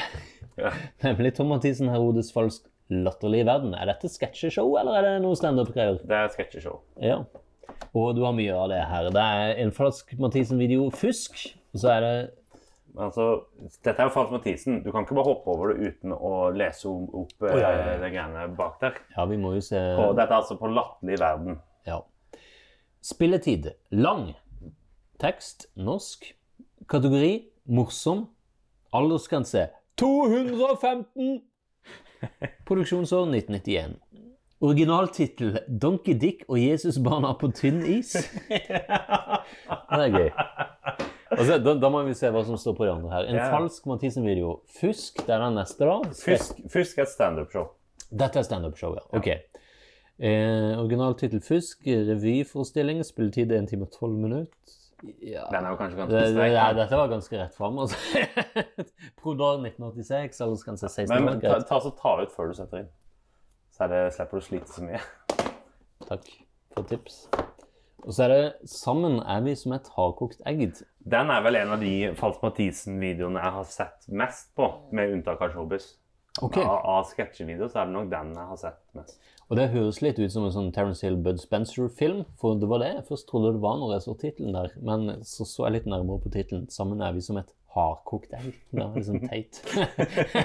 A: Ja.
B: [laughs] Nemlig Tom Mathisen Herodes Falsk latterlig i verden. Er dette sketsjeshow, eller er det noe standup-greier?
A: Det er et sketsjeshow.
B: Ja. Og du har mye av det her. Det er en Falsk Mathisen-video fusk, og så er det
A: Altså, dette er jo Frans Mathisen. Du kan ikke bare hoppe over det uten å lese om- opp oh,
B: ja, ja, ja.
A: det greiene bak der.
B: Ja, vi må jo se
A: Og dette er altså på latterlig verden.
B: Ja. Spilletid. Lang. Tekst. Norsk. Kategori. Morsom. Aldersgrense.
A: [laughs]
B: 215! Produksjonsår 1991. Originaltittel 'Donkey Dick og Jesusbarna på tynn
A: [laughs]
B: is'. Det er gøy. Altså, da, da må vi se hva som står på de andre her. En
A: Ja.
B: falsk Mathisen-video. Fusk, det er den neste, da.
A: Fusk, fusk er et standup-show.
B: Dette er standup-show, ja. Ok. Eh, original tittel Fusk, revyforestilling, spilletid 1 time og 12 minutter. Ja.
A: Den er jo kanskje
B: Det,
A: ganske
B: det,
A: sterk.
B: ja, dette var ganske rett fram, altså. [laughs] Prodal 1986, aldersgrense 16
A: Men,
B: år.
A: men ta,
B: Greit.
A: ta, så ta ut før du setter inn. Så er det, slipper du å slite så mye. [laughs]
B: Takk for tips. Og så er det 'Sammen er vi som et hardkokt egg'.
A: Den er vel en av de Fals Mathisen-videoene jeg har sett mest på, med unntak av Showbiz.
B: Ok.
A: Av, av sketsjevideoer så er det nok den jeg har sett mest.
B: Og det høres litt ut som en sånn Terence Hill Bud Spencer-film, for det var det jeg først trodde det var når jeg så tittelen der, men så så jeg litt nærmere på tittelen. 'Sammen er vi som et hardkokt egg'. Det var liksom teit.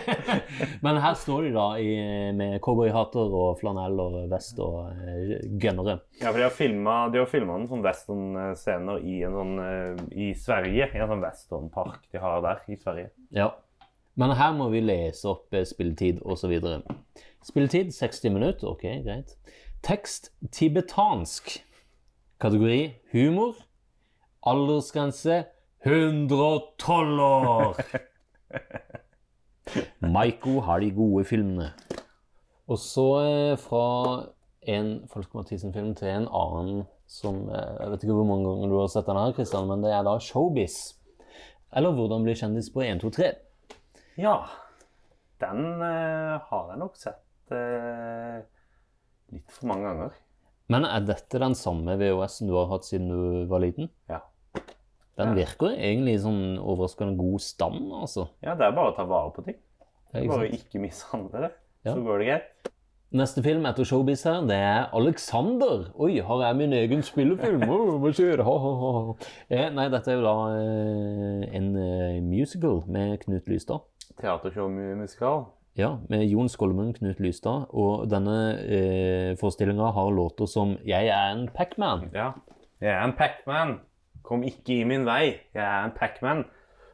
B: [laughs] men her står de da i, med cowboyhatter og flanell og vest og eh, gønnere.
A: Ja, for de har filmet- de har filma noen sånne western-scener i, en sånn, eh, i Sverige. I en sånn westernpark de har der i Sverige.
B: Ja. Men her må vi lese opp eh, spilletid osv. Spilletid 60 minutter. Ok, greit. Tekst tibetansk. Kategori humor. Aldersgrense 112 år! Maiko har de gode filmene. Og så eh, fra en Folk Mathisen-film til en annen som eh, Jeg vet ikke hvor mange ganger du har sett den her, Kristian, men det er da Showbiz. Eller hvordan bli kjendis på 1, 2, 3.
A: Ja. Den eh, har jeg nok sett eh, litt for mange ganger.
B: Men er dette den samme VHS-en du har hatt siden du var liten?
A: Ja.
B: Den
A: Ja.
B: virker egentlig i sånn overraskende god stand, altså.
A: Ja, det er bare å ta vare på ting.
B: Det er ikke
A: Bare
B: sant?
A: ikke mishandle det,
B: Ja.
A: så går det greit.
B: Neste film etter Showbiz her, det er Alexander. Oi, har jeg min egen [laughs] spillefilm? Åh, hva skjer? Ha, ha, ha. Eh, nei, dette er jo da eh, en eh, musical med Knut Lystad.
A: Teatershow-musikal.
B: Ja, med Jon Skolmen, Knut Lystad. Og denne eh, forestillinga har låter som 'Jeg er en Pac-Man'.
A: Ja. Jeg er en Pac-Man. Kom ikke i min vei. Jeg er en Pac-Man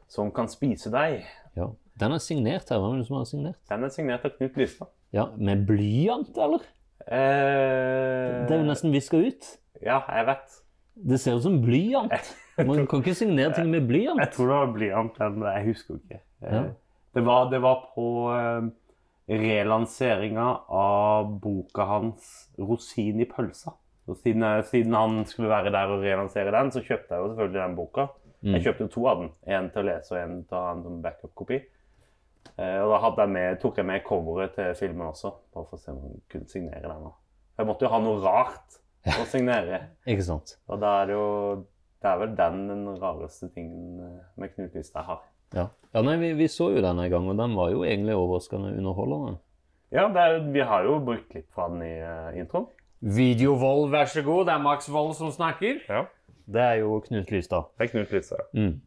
A: som kan spise deg.
B: Ja. Den er signert her. Hvem er det som har signert?
A: Den er signert av Knut Lystad.
B: Ja, Med blyant, eller?
A: Eh,
B: Det er jo nesten viska ut.
A: Ja, jeg vet.
B: Det ser ut som blyant. Man kan ikke signere ting med
A: Jeg
B: blyant.
A: tror det var blyant, men jeg husker ikke. Eh,
B: Ja.
A: Det, var, det var på eh, relanseringa av boka hans 'Rosin i pølsa'. Og siden, jeg- siden han skulle være der og relansere den, så kjøpte jeg jo selvfølgelig den boka. Jeg
B: Mm.
A: kjøpte jo to av den. En til å lese og en til å ha en som backup-kopi. Eh, og da hadde jeg med, tok jeg med coveret til filmen også, bare for å se om hun kunne signere den. også. Jeg måtte jo ha noe rart å signere.
B: Ikke sant.
A: Og da er det jo Det er vel den den rareste tingen eh, med Knut Lystad har.
B: Ja, ja nei, vi, vi så jo den en gang, og den var jo egentlig overraskende underholdende.
A: Ja, det er, vi har jo brukt klipp fra den i eh, introen.
F: Videovold, vær så god. Det er Max Vold som snakker.
B: Det er jo Knut Lystad.
A: Det er Knut Lystad.
B: Mm.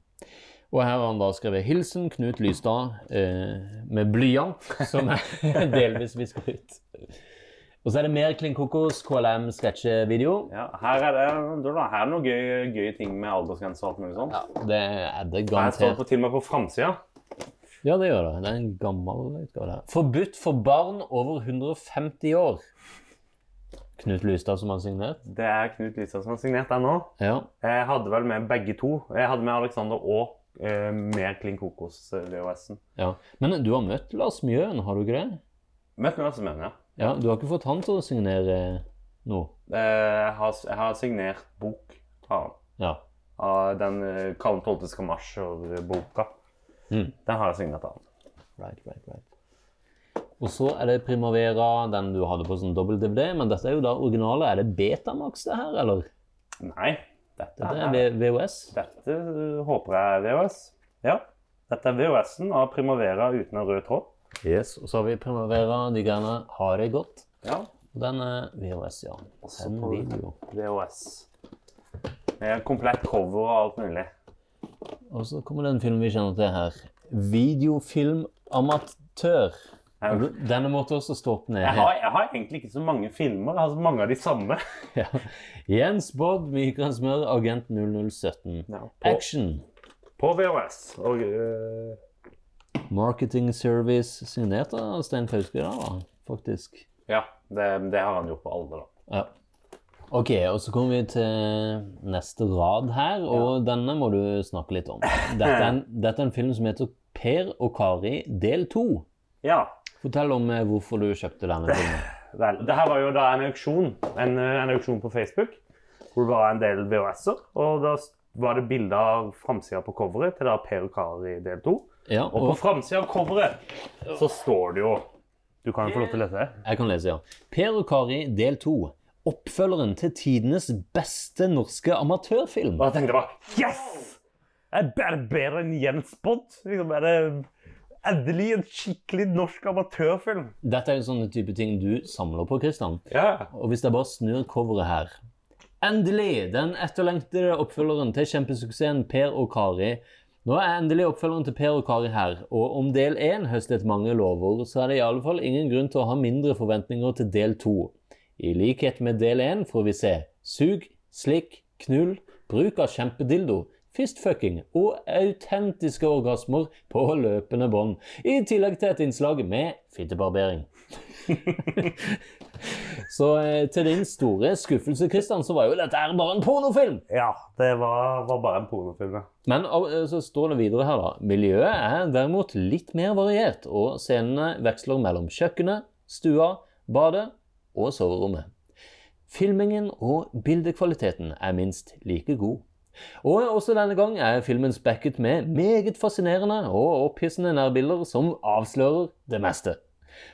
B: Og her har han da skrevet 'Hilsen Knut Lystad' eh, med blyant, som er [laughs] delvis viska ut. Og så er det mer Klin Kokos KLM sketsjevideo.
A: Ja, her er det du, da, her er det noen gøye, gøye ting med aldersgrense og alt mulig sånt.
B: Ja, det
A: Her
B: er det
A: står det
B: garantert.
A: på, til og med på framsida.
B: Ja, det gjør det. Det er en gammel utgave. der. Forbudt for barn over 150 år. Knut Lystad som har signert.
A: Det er Knut Lystad som har signert den nå.
B: Ja.
A: Jeg hadde vel med begge to. Jeg hadde med Alexander og eh, med Klin Kokos eh, VHS-en.
B: Ja. Men du har møtt Lars Mjøen, har du ikke det?
A: Møtt med Assemøen, ja.
B: Ja, Du har ikke fått han til å signere noe?
A: Eh, Jeg har, jeg har signert bok av han.
B: Ja.
A: Av den eh, Kallen 12. skamasjer-boka.
B: Mm.
A: Den har jeg signert av han.
B: Right, right, right. Og så er det Primavera, den du hadde på sånn dobbel-DVD, men dette er jo da originale. Er det Betamax, det her, eller?
A: Nei, dette,
B: Dette er V- VHS.
A: dette håper jeg er VHS. Ja, dette er VHS-en av Primavera uten en rød tråd.
B: Yes. Og så har vi Primavera, de greiene har det godt.
A: Ja,
B: Og den er VHS, ja.
A: Også
B: Den
A: på-
B: video.
A: VHS. Med komplett cover og alt mulig.
B: Og så kommer det en film vi kjenner til her. Videofilmamatør.
A: Jeg,
B: Denne måtte også stå opp ned.
A: jeg, har, jeg har egentlig ikke så mange filmer. Jeg har så mange av de samme.
B: [laughs] Ja. Jens Bodd, Mikael Smør, Agent 0017.
A: På,
B: Action.
A: på VHS. Og, eh,
B: Marketing Service, signert av Stein Fauske, da, faktisk.
A: ja, det, det har han gjort på alle, da.
B: Ja. Ok, og så kommer vi til neste rad her, og denne må du snakke litt om. Dette er, en,
A: [laughs]
B: dette er en film som heter Per og Kari del 2.
A: Ja,
B: Fortell om eh, hvorfor du kjøpte
A: [laughs]
B: denne filmen.
A: Vel, det her var jo da en auksjon, en, eh, en auksjon på Facebook, hvor det var en del VHS-er, og da s- var det bilder av framsida på coveret til da Per og Kari del 2.
B: Ja,
A: Og på
B: og
A: framsida av coveret så står det jo Du kan jo få lov til å lese det.
B: jeg kan lese, ja. Per og Kari del 2. Oppfølgeren til tidenes beste norske amatørfilm.
A: Og jeg tenkte bare Yes! Er det bedre enn Jens Bodd? Liksom, er det endelig en skikkelig norsk amatørfilm?
B: Dette er jo sånne type ting du samler på, Kristian.
A: Ja.
B: Og hvis jeg bare snur coveret her Endelig! Den etterlengtede oppfølgeren til kjempesuksessen Per og Kari. Nå er endelig oppfølgeren til Per og Kari her, og om del én høstet mange lover, så er det i alle fall ingen grunn til å ha mindre forventninger til del to. I likhet med del én får vi se sug, slikk, knull, bruk av kjempedildo, fistfucking og autentiske orgasmer på løpende bånd, i tillegg til et innslag med fittebarbering. Så eh, til din store skuffelse, Kristian, så var jo dette her bare en pornofilm.
A: ja det var, var bare en pornofilm. ja.
B: Men av- eh, så står det videre her, da. Miljøet er derimot litt mer variert, og scenene veksler mellom kjøkkenet, stua, badet og soverommet. Filmingen og bildekvaliteten er minst like god. Og også denne gang er filmen spekket med meget fascinerende og opphissende nærbilder som avslører det meste.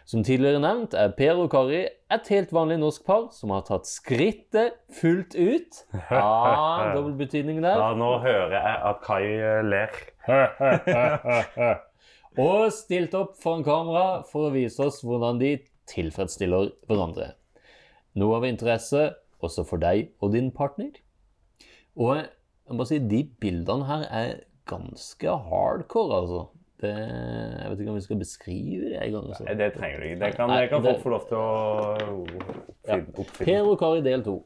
B: Som tidligere nevnt er Per og Kari et helt vanlig norsk par som har tatt skrittet fullt ut. Ja, dobbel betydning der.
A: Ja, nå hører jeg at Kai eh, ler. [laughs]
B: [laughs] Og stilt opp foran kamera for å vise oss hvordan de tilfredsstiller hverandre. Noe av interesse også for deg og din partner. Og jeg må si, de bildene her er ganske hardcore, altså. Det, jeg vet ikke om vi skal beskrive det engang. Altså.
A: Nei, Det trenger du ikke. Det kan,
B: Nei,
A: det kan
B: det-
A: folk få lov til å oppfinne. oppfinne.
B: Per og Kari del to.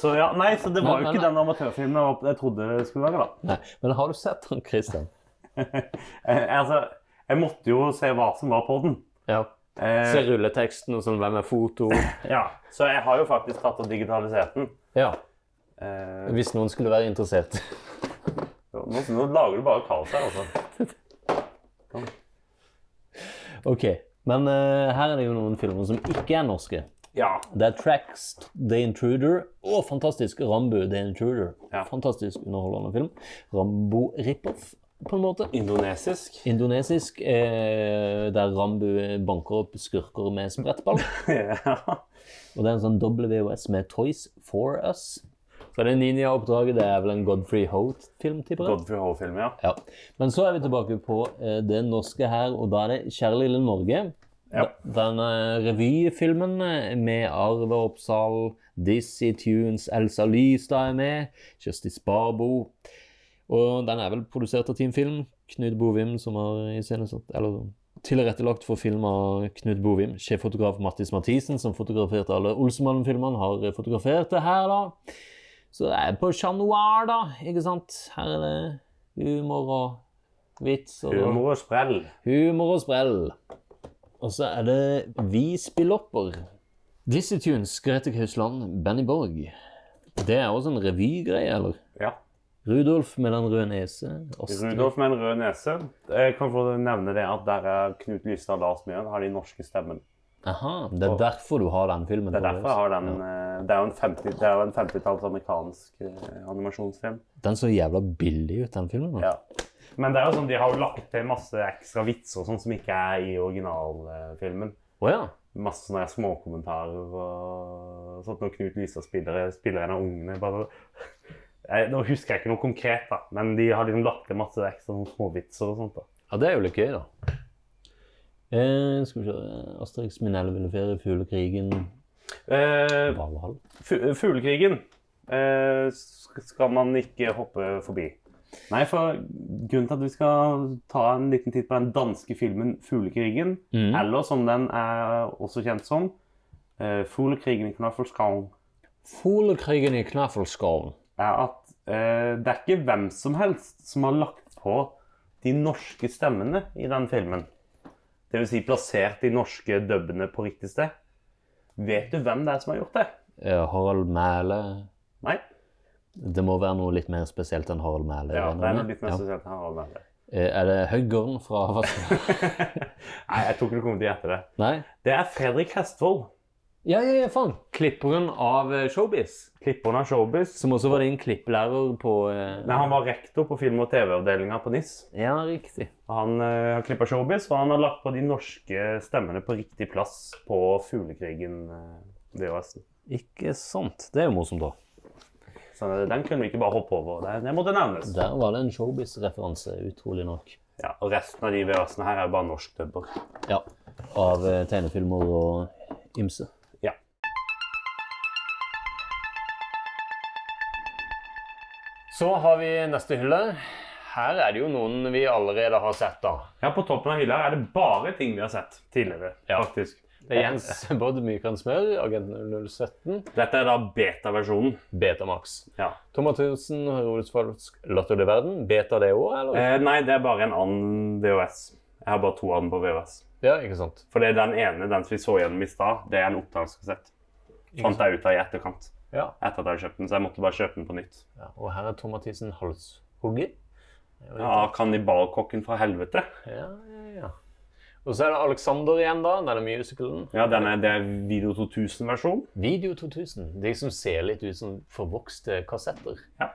A: Så ja, nei, så det var
B: Nei,
A: jo
B: nei,
A: ikke
B: nei.
A: den amatørfilmen jeg opp- jeg trodde det skulle være, da. [laughs]
B: Nei, men har du sett han, Christian?
A: Eh, altså, jeg måtte jo se hva som var på den.
B: Ja.
A: Eh,
B: Se rulleteksten og sånn, hvem er foto?
A: ja. Så jeg har jo faktisk tatt og digitalisert den.
B: Ja,
A: Eh,
B: hvis noen skulle være interessert.
A: nå, nå lager du bare kaos her, altså.
B: Ok, men eh, her er det jo noen filmer som ikke er norske.
A: Ja.
B: Det er Tracks, The Intruder, og fantastisk Rambo, The Intruder.
A: Ja.
B: Fantastisk underholdende film. Rambo Rippoff, på en måte.
A: Indonesisk.
B: Indonesisk, eh, der Rambo banker opp skurker med sprettball.
A: [laughs] ja.
B: Og det er en sånn WOS med Toys for Us. Så det ninja-oppdraget, det er vel en Godfrey Holt-film, tipper jeg.
A: Godfrey Hall-film, ja.
B: Ja. Men så er vi tilbake på eh, det norske her, og da er det Kjære lille Norge.
A: Ja.
B: Den eh, revyfilmen eh, med Arve Oppsal, Dizzie Tunes, Elsa Lystad er med, Kjersti Sparbo. Og den er vel produsert av Team Film. Knut Bovim som har iscenesatt Eller tilrettelagt for film av Knut Bovim. Sjeffotograf Mattis Mathisen, som fotograferte alle Olsemannen-filmene, har eh, fotografert det her, da. Så det er på Chat Noir, da. Ikke sant? Her er det humor og vits. Og
A: Humor og sprell.
B: Humor og sprell. Og så er det Vi spiller opper. Dizzie Tunes, Grete Kausland, Benny Borg. Det er også en revygreie, eller?
A: Ja.
B: Rudolf med den røde nese. Astrid.
A: Rudolf med en rød nese. Jeg kan få nevne det at der er Knut Lystad og Lars Mjøen har de norske stemmene.
B: Aha, det er derfor du har den filmen.
A: Det er
B: på
A: derfor jeg har den eh, Det er jo en 50 det er jo en 50-talls amerikansk eh, animasjonsfilm.
B: Den så jævla billig ut, den filmen. da.
A: Ja. Men det er jo sånn, de har jo lagt til masse ekstra vitser og sånn som ikke er i originalfilmen.
B: Å ja.
A: Masse sånne her småkommentarer og sånt når Knut Lysa spiller, spiller en av ungene. bare... Jeg, nå husker jeg ikke noe konkret, da, men de har liksom lagt til masse ekstra sånne småvitser og sånt. da.
B: Ja, det er jo litt gøy, da. Eh, skal vi se Asterix, min elleville ferie, Fuglekrigen,
A: Eh,
B: Valhall.
A: Fu- Fuglekrigen eh, sk- skal man ikke hoppe forbi. Nei, for grunnen til at vi skal ta en liten titt på den danske filmen 'Fuglekrigen',
B: Mhm.
A: eller som den er også kjent som, eh, 'Fuglekrigen i Knaffelskong',
B: Fuglekrigen i Knaffelskogen.
A: er at eh, det er ikke hvem som helst som har lagt på de norske stemmene i den filmen. Det vil si plassert de norske dubbene på riktig sted. Vet du hvem det er som har gjort det?
B: Eh, Harald Mæle.
A: Nei.
B: Det må være noe litt mer spesielt enn Harald Mæhle.
A: Ja, det er noe litt mer
B: Ja.
A: spesielt her. Harald Mæhle.
B: Eh, Er det Høggorn fra Vassdraget?
A: Nei, jeg tror ikke du kommer til å gjette det.
B: Nei?
A: Det er Fredrik Hestvold.
B: Ja, ja, ja, faen! Klipperen av eh, Showbiz.
A: Klipperen av Showbiz.
B: Som også var din klipplærer på eh,
A: Nei, han var rektor på film- og TV-avdelinga på NIS.
B: Ja, riktig.
A: Han eh, har klippa Showbiz, og han har lagt på de norske stemmene på riktig plass på Fuglekrigen eh, VHS-en.
B: Ikke sant. Det er jo morsomt, da.
A: Så den kunne vi ikke bare hoppe over. Det, det måtte nevnes.
B: Der var det en Showbiz-referanse, utrolig nok.
A: Ja, og resten av de VHS-ene her er bare norskdubber.
B: Ja. Av eh, tegnefilmer og ymse.
A: Ja.
F: Så har vi neste hylle. Her er det jo noen vi allerede har sett, da.
A: ja, på toppen av hylla her er det bare ting vi har sett tidligere, faktisk.
F: Det er Jens [laughs] Bodd Mykran Smør, Agent 017,
A: Dette er da beta-versjonen.
F: Betamax.
A: Ja.
F: Tom Mathisen, Herodes Falsk, Latter det verden. Beta det òg, eller?
A: Eh, nei, det er bare en annen VHS. Jeg har bare to av den på VHS.
F: Ja, ikke sant.
A: For det er den ene, den som vi så gjennom i stad, det er en opptakskassett. Fant jeg ut av i etterkant.
F: Ja.
A: Etter at jeg hadde kjøpt den, så jeg måtte bare kjøpe den på nytt.
F: ja. Og her er Tom Mathisen halshugger.
A: Ja, Kannibalkokken fra helvete.
F: Ja, ja, ja. Og så er det Alexander igjen, da. Denne musicalen.
A: Ja, den er, det er Video 2000-versjon.
F: Video 2000. De som ser litt ut som forvokste kassetter.
A: Ja.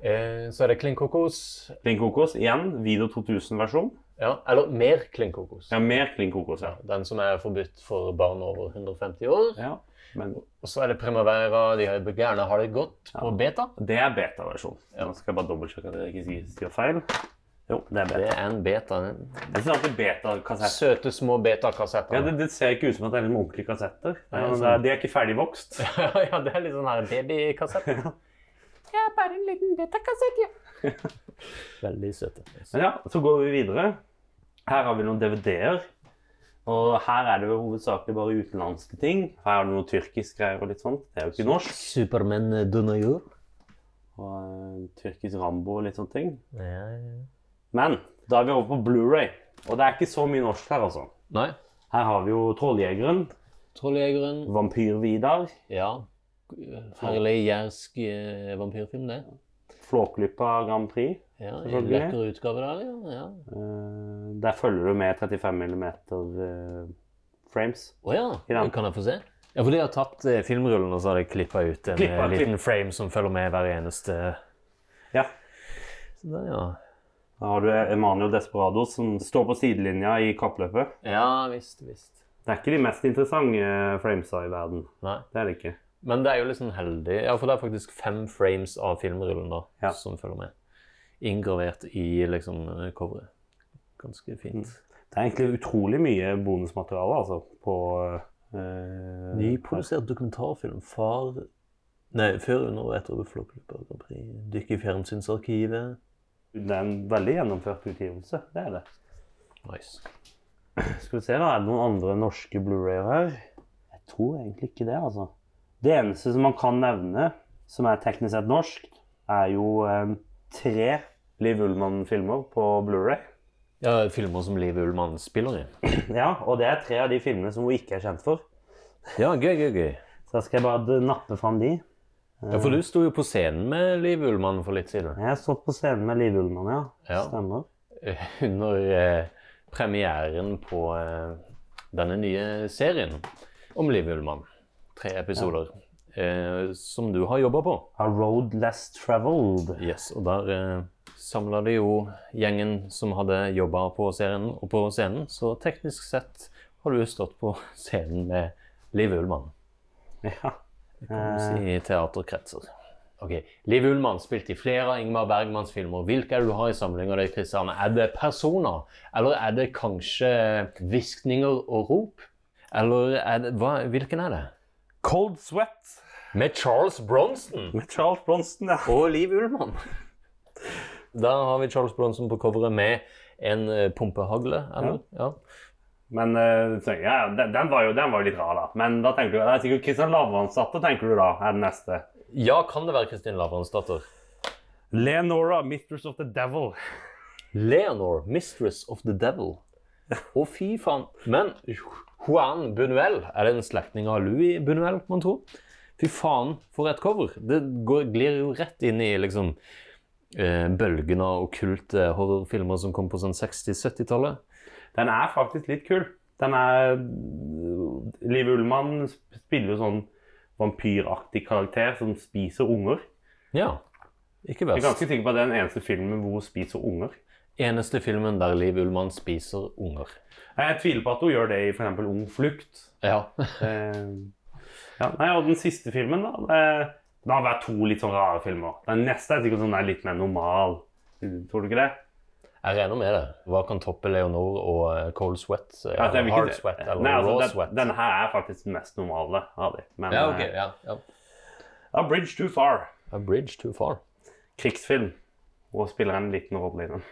F: Eh, så er det Klin Kokos.
A: Klin Kokos igjen, Video 2000-versjon.
F: Ja, eller mer Klin Kokos.
A: Ja, mer Klin Kokos, ja.
F: Den som er forbudt for barn over 150 år.
A: ja. Men
F: Og så er det Primavera, de har gjerne har det godt på beta.
A: det er beta-versjon. Nå skal jeg bare dobbeltsjekke at jeg ikke sier- sier feil. Jo, det er
B: Det
A: beta.
B: er en beta.
A: Jeg synes alltid beta-kassett.
B: Søte små
A: Ja,
B: beta-kassetter.
A: det, det ser ikke ut som at det er noen ordentlige kassetter.
B: Nei,
A: Men
B: sånn.
A: De er ikke ferdigvokst.
B: [laughs] ja, det er litt sånn her [laughs] babykassett.
G: Det er bare en liten beta-kassett, ja.
B: [laughs] Veldig søte.
A: Men ja, så går vi videre. Her har vi noen DVD-er. Og her er det jo hovedsakelig bare utenlandske ting. Her er det noe tyrkisk greier og litt sånt. Det er jo ikke norsk.
B: Superman eh, Donajor.
A: Og eh, tyrkisk Rambo og litt sånne ting.
B: Ja, ja.
A: Men da er vi over på Blu-ray. Og det er ikke så mye norsk her, altså.
B: Nei.
A: Her har vi jo Trolljegeren,
B: Trolljegeren.
A: Vampyr-Vidar,
B: Ja. Herlig jærsk eh, vampyrfilm, det.
A: Flåklypa Grand Prix.
B: Ja, en
A: Selvfølgelig.
B: lekker utgave der, ja. ja.
A: Eh, der følger du med 35 mm frames.
B: Å ja,
A: I den.
B: kan jeg få se? Ja, for de har tatt eh, filmrullen og så har de klippa ut en
A: Klippet,
B: eh, liten frame som følger med hver eneste
A: Ja.
B: Så der, ja.
A: Da har du Emanuel Desperado som står på sidelinja i kappløpet.
B: ja visst, visst.
A: Det er ikke de mest interessante framesa i verden.
B: Nei.
A: Det er det ikke.
B: Men det er jo litt sånn heldig. Ja, for det er faktisk fem frames av filmrullen da,
A: Ja.
B: som følger med. Inngravert i liksom eh, coveret. Ganske fint.
A: Det er egentlig utrolig mye bonusmateriale altså, på eh,
B: Mm. Nyprodusert dokumentarfilm. Far Nei, før, under og etter Flåklypa Grand Prix. Dykk i fjernsynsarkivet.
A: Det er en veldig gjennomført utgivelse. Det er det.
B: Nice.
A: Skal vi se, da. Er det noen andre norske Blu-rayer her? Jeg tror egentlig ikke det, altså. Det eneste som man kan nevne, som er teknisk sett norsk, er jo eh, tre Liv Ullmann-filmer på Blu-ray.
B: Ja, filmer som Liv Ullmann spiller i.
A: Ja, og det er tre av de filmene som hun ikke er kjent for.
B: Ja, gøy, gøy, gøy.
A: Så da skal jeg bare d- nappe fram de.
B: Ja, for du sto jo på scenen med Liv Ullmann for litt siden. [laughs]
A: Jeg har stått på scenen med Liv Ullmann, ja.
B: Ja.
A: Stemmer.
B: Under eh, premieren på eh, denne nye serien om Liv Ullmann. Tre episoder. Eh, som du har jobba på.
A: A Road Less Traveled. [laughs]
B: Yes, og der eh, samla de jo gjengen som hadde jobba på serien og på scenen. Så teknisk sett har du stått på [laughs] scenen med Liv Ullmann.
A: Ja.
B: kan du si, i teaterkretser. Ok, Liv Ullmann spilte i flere av Ingmar Bergmans filmer. Hvilke er det du har i samlinga di, Kristian? Er det personer? Eller er det kanskje hviskninger og rop? Eller er det, hva, hvilken er det?
A: Cold Sweat
B: Med Charles Bronson
A: med Charles Bronson, ja.
B: og Liv Ullmann. Da har vi Charles Bronson på coveret med en eh, pumpehagle, eller? Ja.
A: Men eh, så, ja, den, den, var jo, den var jo litt rar, da. Men da tenker du, det er sikkert Kristian Lavransdatter, tenker du da, er den neste.
B: Ja, kan det være Kristin Lavransdatter?
A: Leonora, Mistress of the Devil.
B: Leonor, Mistress of the Devil. Å, fy faen. Men Juan Buñuel, er det en slektning av Louis Buñuel, man tror? Fy faen, for et cover. Det går, glir jo rett inn i liksom eh, bølgen av okkulte horrorfilmer som kom på sånn 60-70-tallet.
A: Den er faktisk litt kul. Den er Liv Ullmann sp- spiller jo sånn vampyraktig karakter som spiser unger.
B: Ja, ikke
A: Jeg er
B: verst.
A: ganske sikker på at det er den eneste filmen hvor hun spiser unger.
B: Eneste filmen der Liv Ullmann spiser unger.
A: Jeg tviler på at hun gjør det i f.eks. Ung flukt.
B: Ja.
A: Eh, ja, nei, og den siste filmen, da eh, Det har vært to litt sånn rare filmer. Den neste er sikkert sånn der litt mer normal. Mm, Tror du ikke det?
B: Jeg regner med det. Hva kan toppe Leonor og eh, Cold Sweat? eh,
A: Altså, jeg vil ikke-
B: hard Sweat eller
A: Nei, altså,
B: Raw
A: den,
B: Sweat?
A: Denne her er faktisk den mest normale av dem. Men
B: Ja, ok.
A: eh,
B: Ja, ja.
A: A Bridge Too Far.
B: A bridge too far.
A: Krigsfilm. Og spiller en liten rolle i den.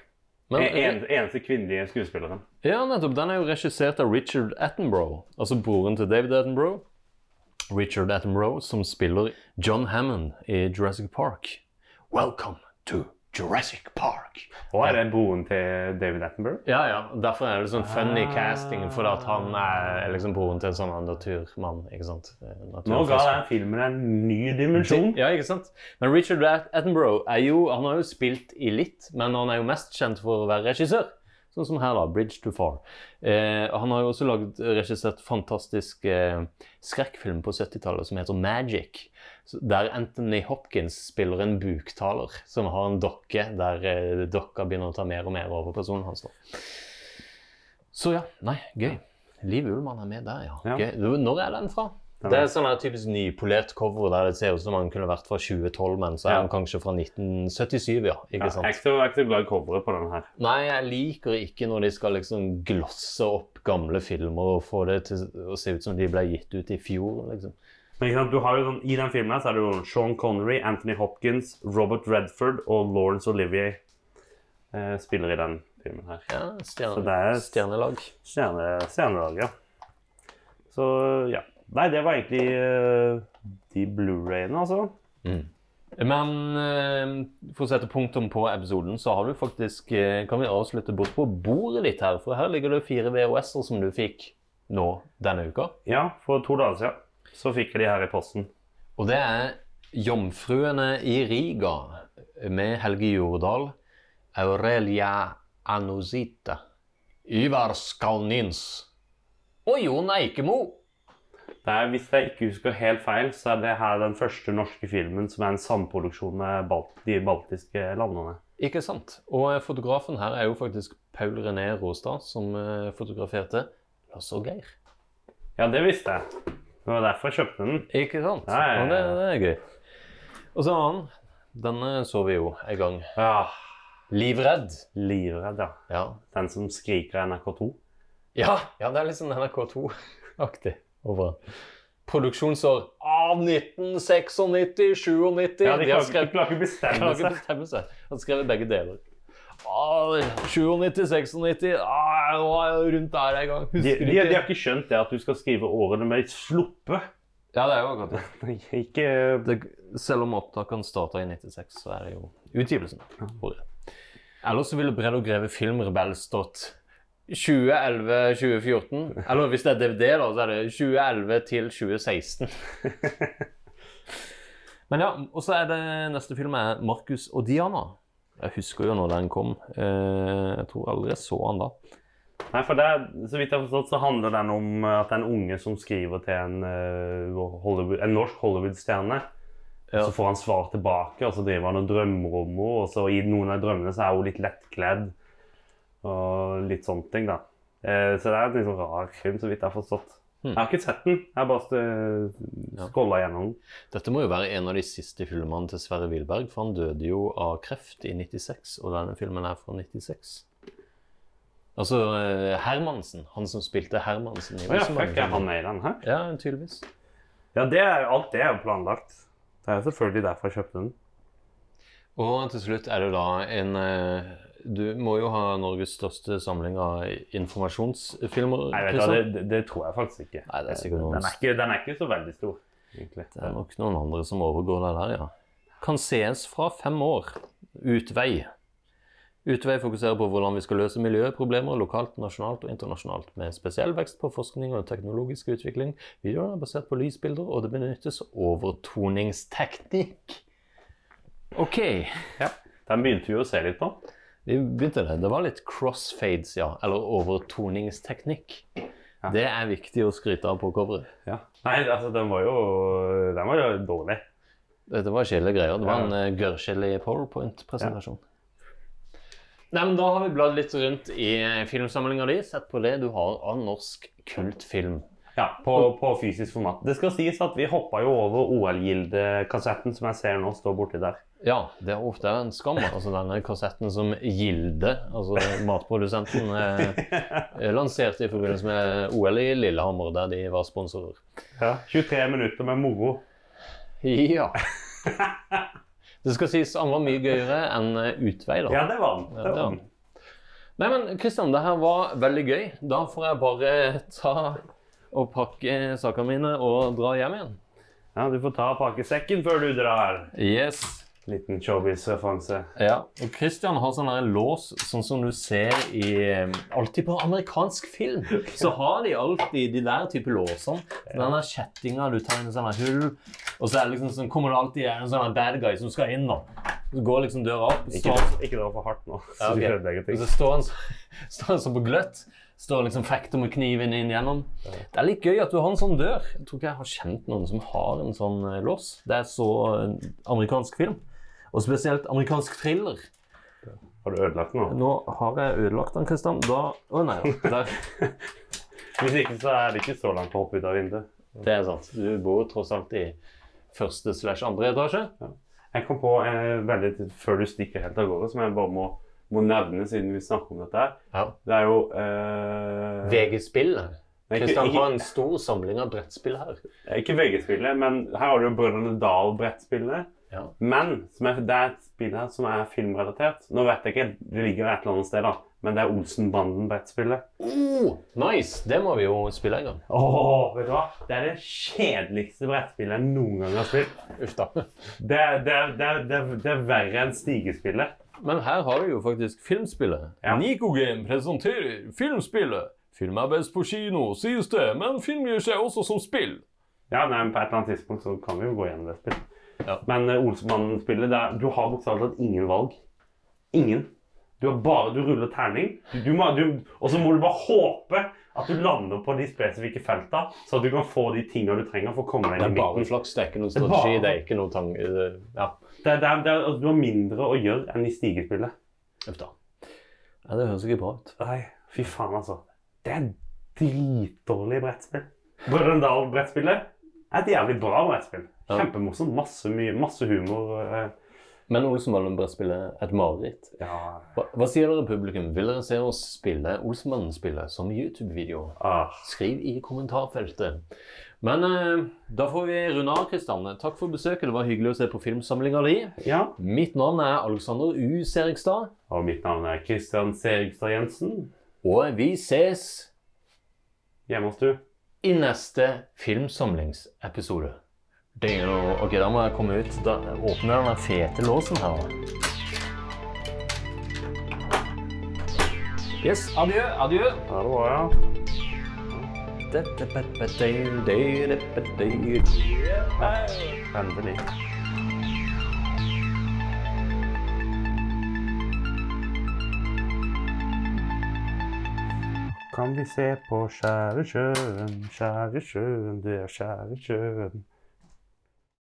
B: Men-
A: En, en, eneste kvinnelige skuespilleren.
B: Ja, nettopp. Den er jo regissert av Richard Attenborough, altså broren til David Attenborough. Richard Attenborough, som spiller John Hammond i Jurassic Park. Welcome to Jurassic Park.
A: Og er det broren til David Attenborough?
B: Ja, ja. Derfor er det sånn funny
A: Ah.
B: casting, for at han er liksom broren til en sånn naturmann, ikke sant? Eh,
A: Nå ga
B: naturforsker.
A: den filmen en ny dimensjon.
B: Ja, ikke sant? Men Richard At- Attenborough er jo, han har jo spilt i litt, men han er jo mest kjent for å være regissør. Sånn som her, da. 'Bridge to Far'. Eh, han har jo også lagd regissert fantastisk eh, skrekkfilm på 70-tallet som heter 'Magic'. så- Der Anthony Hopkins spiller en buktaler som har en dokke der eh, dokka begynner å ta mer og mer over personen hans. da. Så ja. Nei, gøy. Liv Ullmann er med der,
A: Ja.
B: ja. Gøy. Når er den fra?
A: Den
B: Det
A: er-
B: er sånn her typisk nypolert cover der det ser ut som han kunne vært fra 2012, men så er
A: Ja.
B: han kanskje fra 1977, ja.
A: ja,
B: Ikke
A: jeg, er
B: sant?
A: ikke så, jeg er ikke så glad i coveret på den her.
B: Nei, jeg liker ikke når de skal liksom glosse opp gamle filmer og få det til å se ut som de ble gitt ut i fjor, liksom.
A: Men ikke sant, du har jo sånn, I den filmen her så er det jo Sean Connery, Anthony Hopkins, Robert Redford og Laurence Olivier eh, spiller i den filmen her.
B: Ja,
A: Så
B: stjerne,
A: det er
B: stjernelag.
A: stjerne- stjernelag, ja. Så ja. Nei, det var egentlig eh, de Blu-rayene, altså.
B: Men eh, for å sette punktum på episoden, så har du faktisk eh, Kan vi avslutte bort på bordet ditt her? For her ligger det fire VHS-er som du fikk nå denne uka.
A: Ja, for to dager siden så fikk jeg de her i posten.
B: Og det er 'Jomfruene i Riga' med Helge Jordal, Aurelia Anusita, Ivar Skalnins og Jon Eikemo.
A: Det er, hvis jeg ikke husker helt feil, så er det her den første norske filmen som er en samproduksjon med bal de baltiske landene.
B: Ikke sant? Og eh, fotografen her er jo faktisk Paul René Rostad, som eh, fotograferte Lars og Geir.
A: Ja, det visste jeg. Det var derfor jeg kjøpte den.
B: Ikke sant?
A: Ja, ja, ja.
B: Og det, det er gøy. Og så annen. Denne så vi jo en gang.
A: Ah,
B: Livredd.
A: livredd, ja.
B: Ja,
A: Den som skriker NRK2.
B: Ja, ja det er litt sånn NRK2-aktig over den. Produksjonsår av 1996-97.
A: Ja, de
B: de
A: klarer ikke-
B: har
A: de
B: skrevet
A: klarer ikke bestemme
B: klarer ikke
A: seg.
B: bestemme seg. Han skrev begge deler. Ah, 97-96 ah, jeg var rundt der en gang.
A: De, de,
B: Husker ikke.
A: de har ikke skjønt det at du skal skrive årene med 'sluppe'. [laughs]
B: Ja, det er jo akkurat det.
A: Ikke
B: det. Selv om opptakene starta i 96, så er det jo utgivelsen. Ordet. Ellers så ville Bredd og Greve Filmrebell stått 2011-2014. Eller hvis det er DVD, da, så er det 2011 til 2016. Men ja, og så er det neste film er Markus og Diana. Jeg husker jo når den kom. Eh, Jeg tror aldri jeg så den da.
A: Nei, for det, er- Så vidt jeg har forstått, så handler den om eh, at det er en unge som skriver til en, eh, Hollywood, en norsk Hollywood-stjerne.
B: Ja.
A: Så får han svar tilbake, og så driver han og drømmer om henne. Og så i noen av drømmene så er hun litt lettkledd og litt sånne ting, da. Eh, Så det er en litt sånn rar film, så vidt jeg har forstått.
B: Hmm.
A: Jeg har ikke sett den. Jeg har bare skrolla gjennom den.
B: Dette må jo være en av de siste filmene til Sverre Wilberg, for han døde jo av kreft i 96, og denne filmen er fra 96. Altså eh, Hermansen, han som spilte Hermansen. i
A: Å ja,
B: Rosenborg.
A: fuck, er han med i den her?
B: Ja, tydeligvis.
A: Ja, det er, alt det er jo planlagt. Det er jo selvfølgelig derfor jeg kjøpte den.
B: Og til slutt er det da en eh, Du må jo ha Norges største samling av informasjonsfilmer.
A: Nei, vet du, hva,
B: Kristian.
A: det, det, det tror jeg faktisk ikke.
B: Nei, det er sikkert noen-
A: Den er ikke, den er ikke så veldig stor, egentlig.
B: Det er nok noen andre som overgår det der, ja. Kan sees fra fem år. Utvei. Utvei fokuserer på hvordan vi skal løse miljøproblemer lokalt, nasjonalt og internasjonalt, med spesiell vekst på forskning og teknologisk utvikling. Videoene er basert på lysbilder, og det benyttes overtoningsteknikk. OK.
A: Den begynte vi jo å se litt på.
B: Vi begynte det. Det var litt crossfades, ja. Eller overtoningsteknikk. Det er viktig å skryte av på coveret.
A: Nei, altså, den var jo, den var jo dårlig.
B: Dette var kjedelige greier. Det var
A: Ja.
B: en uh, gørrkjedelig powerpoint-presentasjon. Nei, men Da har vi bladd litt rundt i eh, filmsamlinga di. Sett på det du har av norsk kultfilm.
A: Ja, på, på fysisk format. Det skal sies at vi hoppa jo over OL-gildekassetten som jeg ser nå står borti der.
B: Ja, det er ofte en skam. Altså denne kassetten som Gilde, altså matprodusenten, eh, [laughs] lanserte i forbindelse med OL i Lillehammer, der de var sponsorer.
A: Ja. 23 minutter med moro.
B: Ja. [laughs] Det skal sies han var mye gøyere enn eh, Utvei, da.
A: Ja, det var den.
B: Ja,
A: Det var
B: det
A: den.
B: Nei, men Kristian, det her var veldig gøy. Da får jeg bare ta og pakke sakene mine og dra hjem igjen.
A: Ja, du får ta pakkesekken før du drar.
B: Yes.
A: Liten showbiz-referanse.
B: Ja. Og Kristian har sånn der lås, sånn som du ser i eh, Alltid på amerikansk film så har de alltid de der type låsene. Den der kjettinga du tar inn i sånne hull, og så er det liksom sånn, kommer det alltid en sånn bad guy som skal inn, da. Så går liksom døra opp.
A: Ikke,
B: så-
A: ikke dra for hardt nå, [laughs] så
B: Ja, ok.
A: du ødelegger
B: Og
A: ting.
B: så [laughs] står han, så- står han sånn på gløtt. Står liksom fekter med kniven inn gjennom. Det er litt gøy at du har en sånn dør. Jeg tror ikke jeg har kjent noen som har en sånn eh, lås. Det er så eh, amerikansk film. Og spesielt amerikansk thriller.
A: Har du ødelagt den nå?
B: Nå har jeg ødelagt den, [laughs] Kristian. Da Å nei da. Der.
A: Hvis ikke, så er det ikke så langt å hoppe ut av vinduet.
B: Det er sant. Du bor jo tross alt i første slash andre etasje.
A: Jeg kom på eh, veldig tid før du stikker helt av gårde, som jeg bare må, må nevne siden vi snakker om dette her.
B: Ja.
A: Det er jo eh,
B: VG-spill.
A: Nei, ikke,
B: Kristian har
A: ikke,
B: en stor samling av brettspill her.
A: ikke VG-spillet, men her har du jo Brødrene Dal-brettspillet.
B: Ja.
A: Men som er, det er et spill her som er filmrelatert. Nå vet jeg ikke, det ligger et eller annet sted, da. Men det er Olsenbanden-brettspillet.
B: Oh, nice! Det må vi jo spille en gang.
A: Åh, vet du hva? Det er det kjedeligste brettspillet jeg noen gang har spilt.
B: Uff da.
A: Det, er- det, er- det, er- det, er- det er verre enn Stigespillet.
B: Men her har vi jo faktisk filmspillet.
A: Ja.
B: Nikogame presenterer filmspillet. Filmarbeids på kino, sies det, men film gjør seg også som spill.
A: Ja, nei, men på et eller annet tidspunkt så kan vi jo gå gjennom det spillet.
B: Ja.
A: Men uh, Olsenmannen-spillet, det er- du har bokstavelig talt ingen valg. Ingen. Du, har bare, du ruller terning, du, du må, du, og så må du bare håpe at du lander på de spesifikke felta, så at du kan få de tinga du trenger for å komme deg
B: Det
A: inn i
B: er bare
A: midten.
B: flaks, det er ikke noen
A: er bare-
B: strategi, det er ikke noen tang... eh, Ja,
A: Det, er- det, er- det, er- altså, du har mindre å gjøre enn i stigespillet.
B: uff da. Ja, det høres ikke bra ut.
A: Nei, fy faen, altså. Det er dritdårlig brettspill. Brøndal-brettspillet er et jævlig bra brettspill.
B: Ja.
A: Kjempemorsomt. Masse, mye- masse humor. eh,
B: Men Olsenmannen-brettspillet et mareritt.
A: Ja,
B: Hva, hva sier dere publikum? Vil dere se oss spille Olsenmannen-spillet som YouTube-video?
A: ah.
B: Skriv i kommentarfeltet. Men eh, da får vi runde av, Kristian. Takk for besøket. Det var hyggelig å se på filmsamlinga di.
A: ja.
B: Mitt navn er Alexander U. Serigstad,
A: Og mitt navn er Kristian Serigstad Jensen.
B: og vi ses
A: Hjemme hos du.
B: i neste filmsamlingsepisode. Det er jo, ok, da må jeg komme ut. Da åpner jeg den fete låsen her. Yes, adjø, adjø.
A: Ha det bra, ja. Endelig. Kan vi se på skjære sjøen, skjære sjøen, det er skjære sjøen.